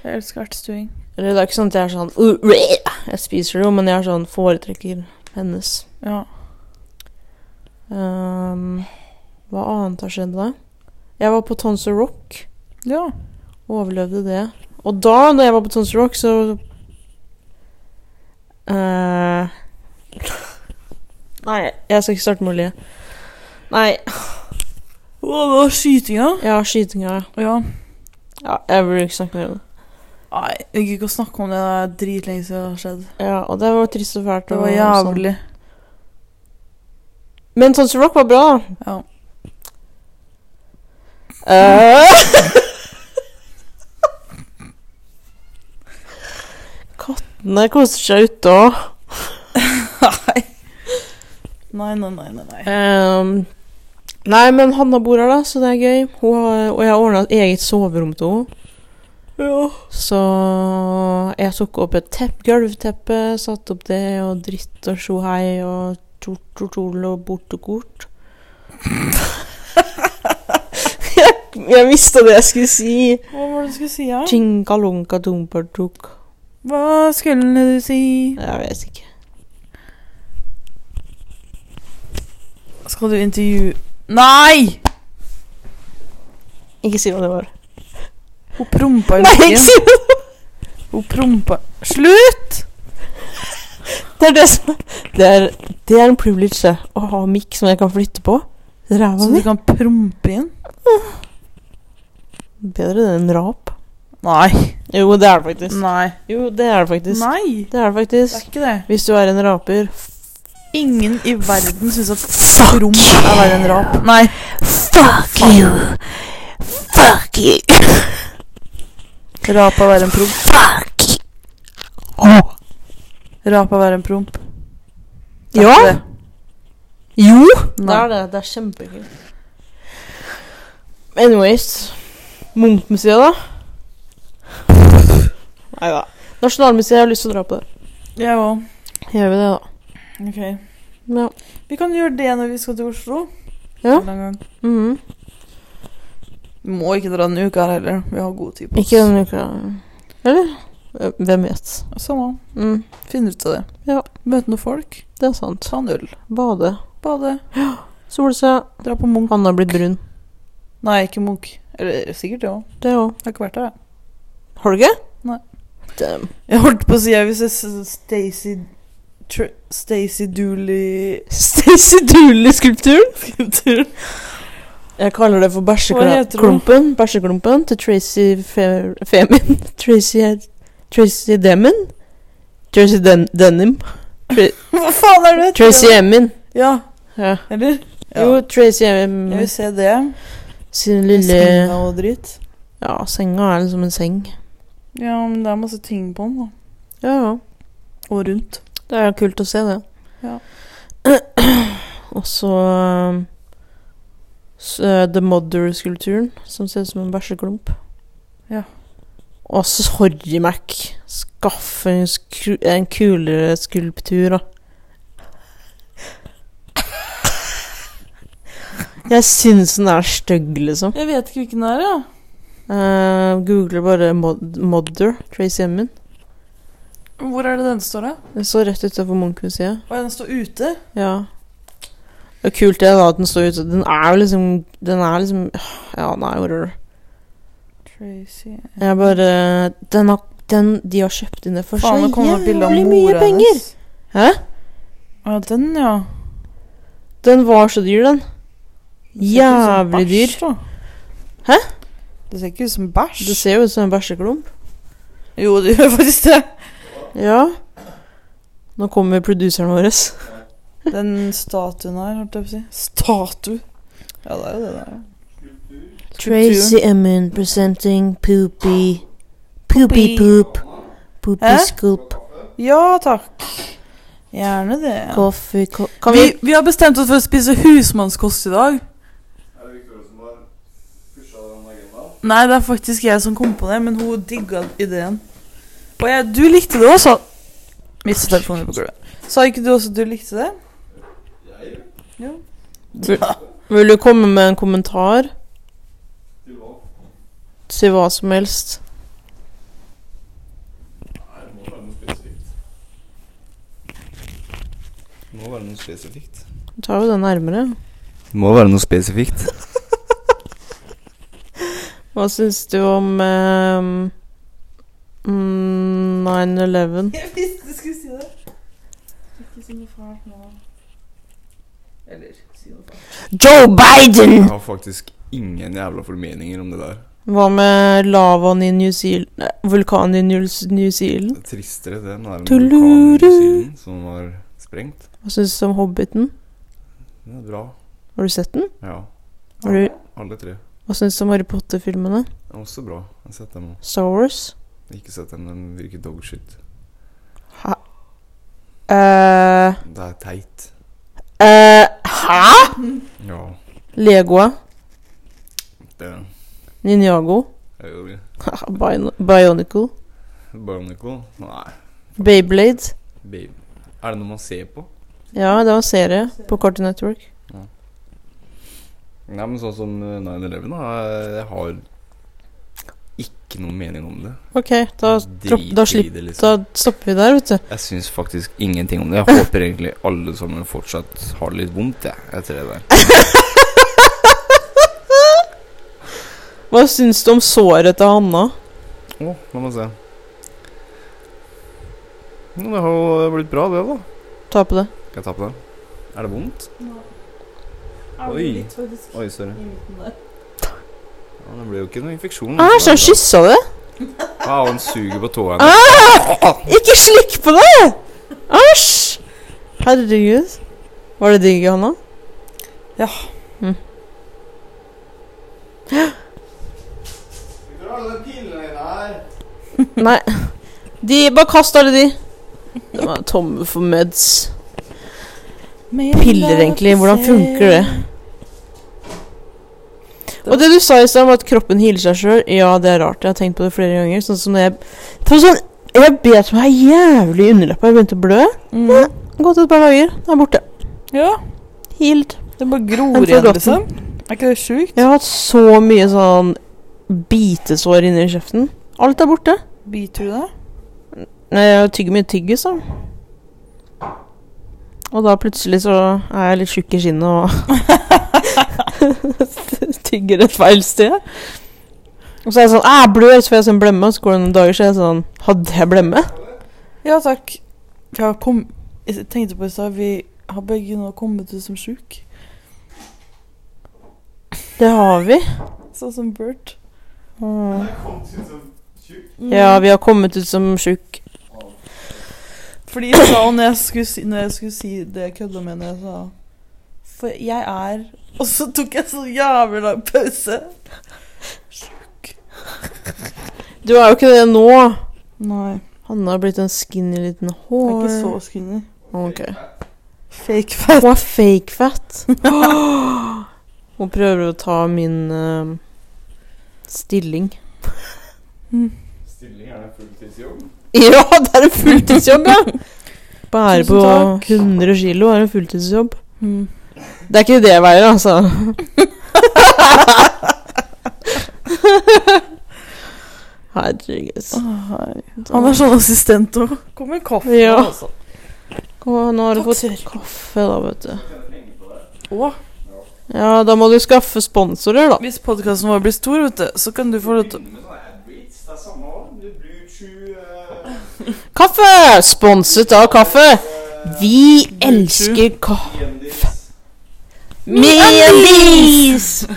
S1: Jeg elsker ertestuing.
S2: Eller det er ikke sånn at jeg er sånn "Uh, bleh!" Jeg spiser det jo, men jeg er sånn foretrekker hennes.
S1: Ja.
S2: Ehm, hva annet har skjedd da? Jeg var på Tonsor Rock.
S1: ja.
S2: Overlevde det. Og da, når jeg var på Tons Rock, så Eh, <laughs> Nei, jeg skal ikke starte med å le. Nei,
S1: Å, det var skytinga.
S2: ja, skytinga.
S1: Ja.
S2: Ja, jeg vil ikke snakke mer om det.
S1: Nei, jeg gikk ikke å snakke om det. Det er dritlenge siden det har skjedd.
S2: Ja, og det var trist og fælt.
S1: Det var
S2: og sånn.
S1: jævlig.
S2: Men Tons Rock var bra, da.
S1: Ja.
S2: Eh. <laughs> Kattene koser seg ute òg.
S1: Nei. <laughs> Nei, nei, nei, nei. nei.
S2: Ehm, nei, men Hanna bor her, da, så det er gøy. Hun har, og jeg har ordna et eget soverom til henne.
S1: Ja.
S2: Så jeg tok opp et tepp, gulvteppe, satte opp det, og dritt og sjo hei og tortortol og bortekort. <laughs> jeg jeg mista det jeg skulle si.
S1: Hva var det du skulle si her?
S2: Chinkalunka dumpertuk.
S1: Hva skulle du si?
S2: Jeg vet ikke.
S1: Skal du intervjue Nei!
S2: Ikke si hva det var.
S1: Hun prompa i
S2: Nei,
S1: nakken.
S2: ikke si hva det var!
S1: Hun prompa Slutt!
S2: Det er det som Det er, det er en privilege, det. Å ha mikk som jeg kan flytte på. Ræva
S1: Så
S2: mi.
S1: du kan prompe inn?
S2: Bedre det enn rap.
S1: Nei.
S2: Jo, det er det faktisk.
S1: Nei.
S2: Jo, det er det faktisk.
S1: Nei.
S2: Det er
S1: Det
S2: det
S1: er
S2: faktisk.
S1: ikke det.
S2: Hvis du er en raper
S1: Ingen i verden syns at promp er verre enn rap. Nei.
S2: Fuck you! Fuck you!
S1: Rap er verre enn promp.
S2: Fuck you!
S1: Rap er verre enn promp. Det er
S2: Ja?
S1: ikke det.
S2: Jo! Det
S1: Nei.
S2: er det. Det er kjempegøy. Anyways Munchmuseet, da? Nei da. Nasjonalmuseet, jeg har lyst til å dra på det.
S1: Jeg òg.
S2: Gjør vi det, da?
S1: Ok.
S2: Ja.
S1: Vi kan gjøre det når vi skal til Oslo. En
S2: Ja.
S1: eller annen gang.
S2: Mhm.
S1: Vi må ikke dra denne uka her heller. Vi har god tid på
S2: Ikke denne uka. Eller? Hvem vet?
S1: Samme.
S2: Mm.
S1: Finne ut av det.
S2: Ja.
S1: Møte noen folk.
S2: Det er sant.
S1: Ta en øl.
S2: Bade.
S1: Bade.
S2: Solseg.
S1: Dra på Munch.
S2: Hanna blir brun.
S1: Nei, ikke Munch. Eller sikkert det òg.
S2: Det òg.
S1: Jeg har ikke vært der, jeg.
S2: Har du ikke?
S1: Nei.
S2: Damn.
S1: Jeg holdt på å si jeg vil se s- Stacy Tr- Stacy Dooley
S2: Stacy <laughs> Dooley-skulpturen. Jeg kaller det for
S1: Hva heter den?
S2: bæsjeklumpen. Bæsjeklumpen til Tracy Fe Femin. <laughs> Tracy Tracy Demin. Tracy Den Denim.
S1: <laughs> Hva faen er det?
S2: Tracy Emin.
S1: Ja.
S2: Ja.
S1: Eller? Ja.
S2: Jo, Tracy Emin
S1: Jeg vil se det.
S2: sin
S1: Senga
S2: lille
S1: og dritt.
S2: Ja, senga er liksom en seng.
S1: Ja, men det er masse ting på den, da.
S2: Ja, ja.
S1: Og rundt.
S2: Det er jo kult å se det.
S1: Ja.
S2: <clears throat> Og så um, s- eh, The Mother-skulpturen, som ser ut som en bæsjeklump.
S1: Ja.
S2: Og sorry, Mac. Skaff en, skru en kulere skulptur, da. Jeg syns den er stygg, liksom.
S1: Jeg vet ikke hvilken det er, jeg.
S2: Eh, Googler bare mod Mother, Tracy Emin.
S1: Hvor er det den står, da?
S2: Den står rett utafor Munch-museet.
S1: Å, den står ute?
S2: Ja. Det er kult det da, at den står ute. Den er jo liksom Den er liksom Ja, nei, whatever.
S1: Tracy
S2: Jeg bare Den har den, De har kjøpt inn det for så
S1: Faen, det kommer opp bilde av
S2: jævlig mye
S1: mora
S2: penger!
S1: hennes.
S2: Hæ?
S1: Ja, den, ja.
S2: Den var så dyr, den.
S1: Det ser ikke ut som
S2: Jævlig dyr.
S1: bæsj, da.
S2: Hæ?
S1: Det ser ikke ut som bæsj.
S2: Det ser jo ut som en bæsjeklump.
S1: Jo, det gjør faktisk det. <laughs>
S2: Ja. Nå kommer produceren vår.
S1: Den statuen her, holdt jeg på å si. Statue? Ja, det er jo det der.
S2: Tracy Emin presenting Poopy. Poopy
S1: Poopy.
S2: poop. Poopy
S1: Hæ?
S2: scoop.
S1: Ja takk. Gjerne det.
S2: Coffee co Kan
S1: Vi,
S2: vi
S1: vi har bestemt oss for å spise husmannskost i dag.
S4: Er det Victoria som har pusha den agendaen?
S1: Nei, det er faktisk jeg som kom på det, men hun digga ideen. Og jeg, du likte det også. Mista telefonen på gulvet. Sa ikke du også at du likte det?
S4: Jeg gjør
S2: Vil, vil du komme med en kommentar?
S4: til hva?
S2: Si hva som helst.
S4: Nei, det må være noe spesifikt. Det må være noe spesifikt.
S2: Du tar jo det nærmere.
S4: Det må være noe spesifikt.
S2: Hva syns du om ehm, mm, 9-11?
S1: Jeg visste du skulle si det. Ikke si noe fælt nå. Eller si noe fælt.
S2: Joe Biden!
S4: Jeg har faktisk ingen jævla formeninger om det der.
S2: Hva med lavaen i New Zealand nei, Vulkanen i New, New Zealand?
S4: Det er tristere det enn det er en
S2: Tuluru.
S4: vulkan i New Zealand som var sprengt.
S2: Hva syns du om Hobbiten?
S4: Det er bra.
S2: Har du sett den?
S4: Ja.
S2: Har du,
S4: Alle tre.
S2: hva syns du om Harry Potter-filmene?
S4: Det er også bra. Jeg har sett dem òg.
S2: Star Wars?
S4: Ikke sett dem, den virker dogshit.
S2: Hæ? Eh,
S4: Det er teit.
S2: eh, hæ?
S4: Ja,
S2: Legoa?
S4: det
S2: Ninjago? <laughs>
S4: er jo det.
S2: Bion Bionicle?
S4: Bionicle? Nei.
S2: Bayblade?
S4: Babe. Er det noe man ser på?
S2: Ja, det var en serie på Cartoon Network.
S4: Nei, men sånn som eh, 9-11 da eh, Jeg har ikke noe mening om det
S2: OK, da, dropp,
S4: Drit
S2: da,
S4: i
S2: slipp,
S4: det, liksom.
S2: da stopper vi der, vet du.
S4: Jeg synes faktisk ingenting om det Jeg håper egentlig alle sammen fortsatt har det litt vondt jeg, Etter det der
S2: Hva syns du om såret til Hanna?
S4: Åh, la meg se Nå, Det har jo blitt bra det da
S2: Ta på det.
S4: Skal jeg ta på det? Er det vondt? Oi.
S1: Oi. Faktisk,
S4: Oi, sorry
S1: i midten der.
S4: ja, Det blir jo ikke noe infeksjon
S2: Æsj, Ah, jeg kyssa det!
S4: Au, han suger på tåene
S2: Ah! Ikke slikk på det! Æsj! Herregud. Var det digg, Hanna?
S1: Ja.
S2: Mm.
S4: Hvor er den pillen din her?
S2: <laughs> Nei. De, Bare kast alle de. De er tomme for meds. Piller, egentlig. Hvordan funker det? Og det du sa i stad om at kroppen healer seg sjøl, ja, det er rart. Jeg har tenkt på det flere ganger. Sånn som når jeg Det var sånn Jeg bet meg jævlig i underleppa. Jeg begynte å blø.
S1: Mm.
S2: Gått et par dager, det er borte.
S1: Ja,
S2: Healed.
S1: det bare
S2: Den
S1: gror
S2: får
S1: igjen,
S2: godt
S1: liksom. Er ikke det sjukt?
S2: Jeg har hatt så mye sånn bitesår inni kjeften. Alt er borte.
S1: Biter du det?
S2: Nei, Jeg tygger mye tyggis, da. Og da plutselig så er jeg litt tjukk i skinnet og <laughs> tygger et feil sted. Og så er jeg sånn «Æ, Jeg blør, så får jeg sånn blemme. Og så går det noen dager, så er jeg sånn Hadde jeg blemme?
S1: Ja takk. For jeg har kom... Jeg tenkte på i stad Vi har begge nå kommet ut som sjuk.
S2: Det har vi.
S1: Sånn som Bert.
S2: Ja, vi har kommet ut som tjukk.
S1: Fordi jeg sa når jeg skulle si, når jeg skulle si det jeg kødda med når jeg sa For jeg er Og så tok jeg så jævlig lang pause.
S2: Du er jo ikke det nå.
S1: Nei.
S2: Hanne har blitt en skinny liten
S1: Jeg
S2: hår.
S1: er ikke så skinny.
S2: Ok.
S1: Fake fat.
S2: Hun er fake fat. <gasps> Hun prøver å ta min eh, stilling.
S4: Stilling er det fulltidsjobb?
S2: Ja, det er en fulltidsjobb, <laughs> ja! Bære
S1: Tusen
S2: på
S1: takk.
S2: 100 kilo er en fulltidsjobb.
S1: Mm.
S2: Det er ikke det jeg veier, altså. <laughs> Herregud.
S1: Han er sånn assistent òg. Kom med kaffe.
S2: Ja.
S1: Altså.
S2: Kom, nå har du
S1: Takk,
S2: fått
S1: sir.
S2: kaffe, da, vet du.
S1: Og
S2: Ja, da må du skaffe sponsorer, da.
S1: hvis podkasten vår blir stor, vet du, så kan du få lov til
S4: Det er samme år. Du blir eh, sju
S2: Kaffe! Sponset av kaffe. Eh.
S4: eh,
S2: Vi elsker kaffe. Me and these! <laughs>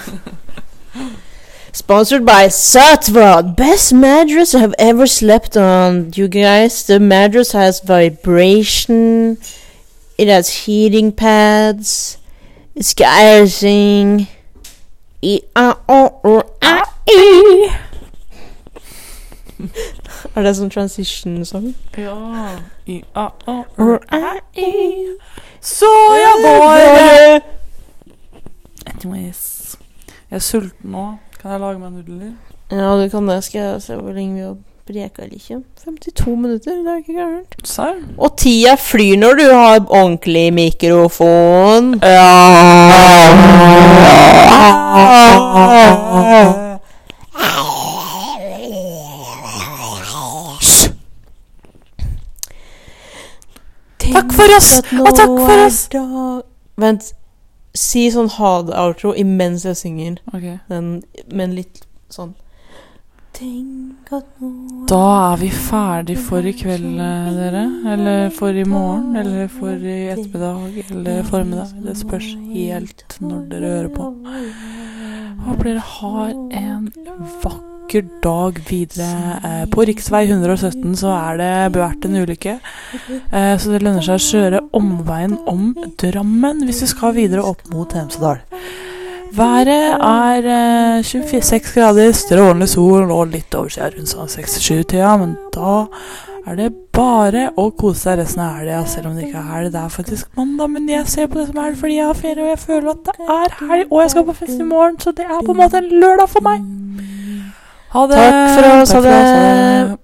S2: Sponsored by Satvad, best mattress I have ever slept on. You guys, the mattress has vibration, it has heating pads, it's E, got everything. <laughs> Er det sånn transition-sang?
S1: Ja. I, a, a, r.
S2: I
S1: Så jeg bare Anyways. Jeg er sulten nå. Kan jeg lage meg nudler?
S2: Ja, du kan det. Skal jeg se hvor lenge vi har preka eller ikke. 52 minutter, det er ikke gærent.
S1: Serr?
S2: Og tida flyr når du har ordentlig mikrofon.
S1: Takk for oss,
S2: Tenk at nå
S1: og takk for
S2: er
S1: oss.
S2: dag- Vent. Si sånn ha det-outro imens jeg synger
S1: Ok.
S2: den, men litt sånn Tenk at nå
S1: Da er vi ferdig for i kveld, eh, dere. Eller for i morgen. Eller for i ettermiddag. Eller formiddag. Det spørs helt når dere hører på. Håper dere har en vakker dag videre. Eh, På rv. 117 så er det bevært en ulykke. Eh, Så det lønner seg å kjøre omveien om Drammen hvis du skal videre opp mot Hemsedal. Været er eh, 26 grader, strålende sol og litt overskyet rundt sånn 6-7-tida, men da er det bare å kose seg resten av helga, selv om det ikke er helg. Det er faktisk mandag, men jeg ser på det som helg fordi jeg har ferie, og jeg føler at det er helg, og jeg skal på fest i morgen, så det er på en måte en lørdag for meg. Ha det.
S2: Takk for oss, ha det.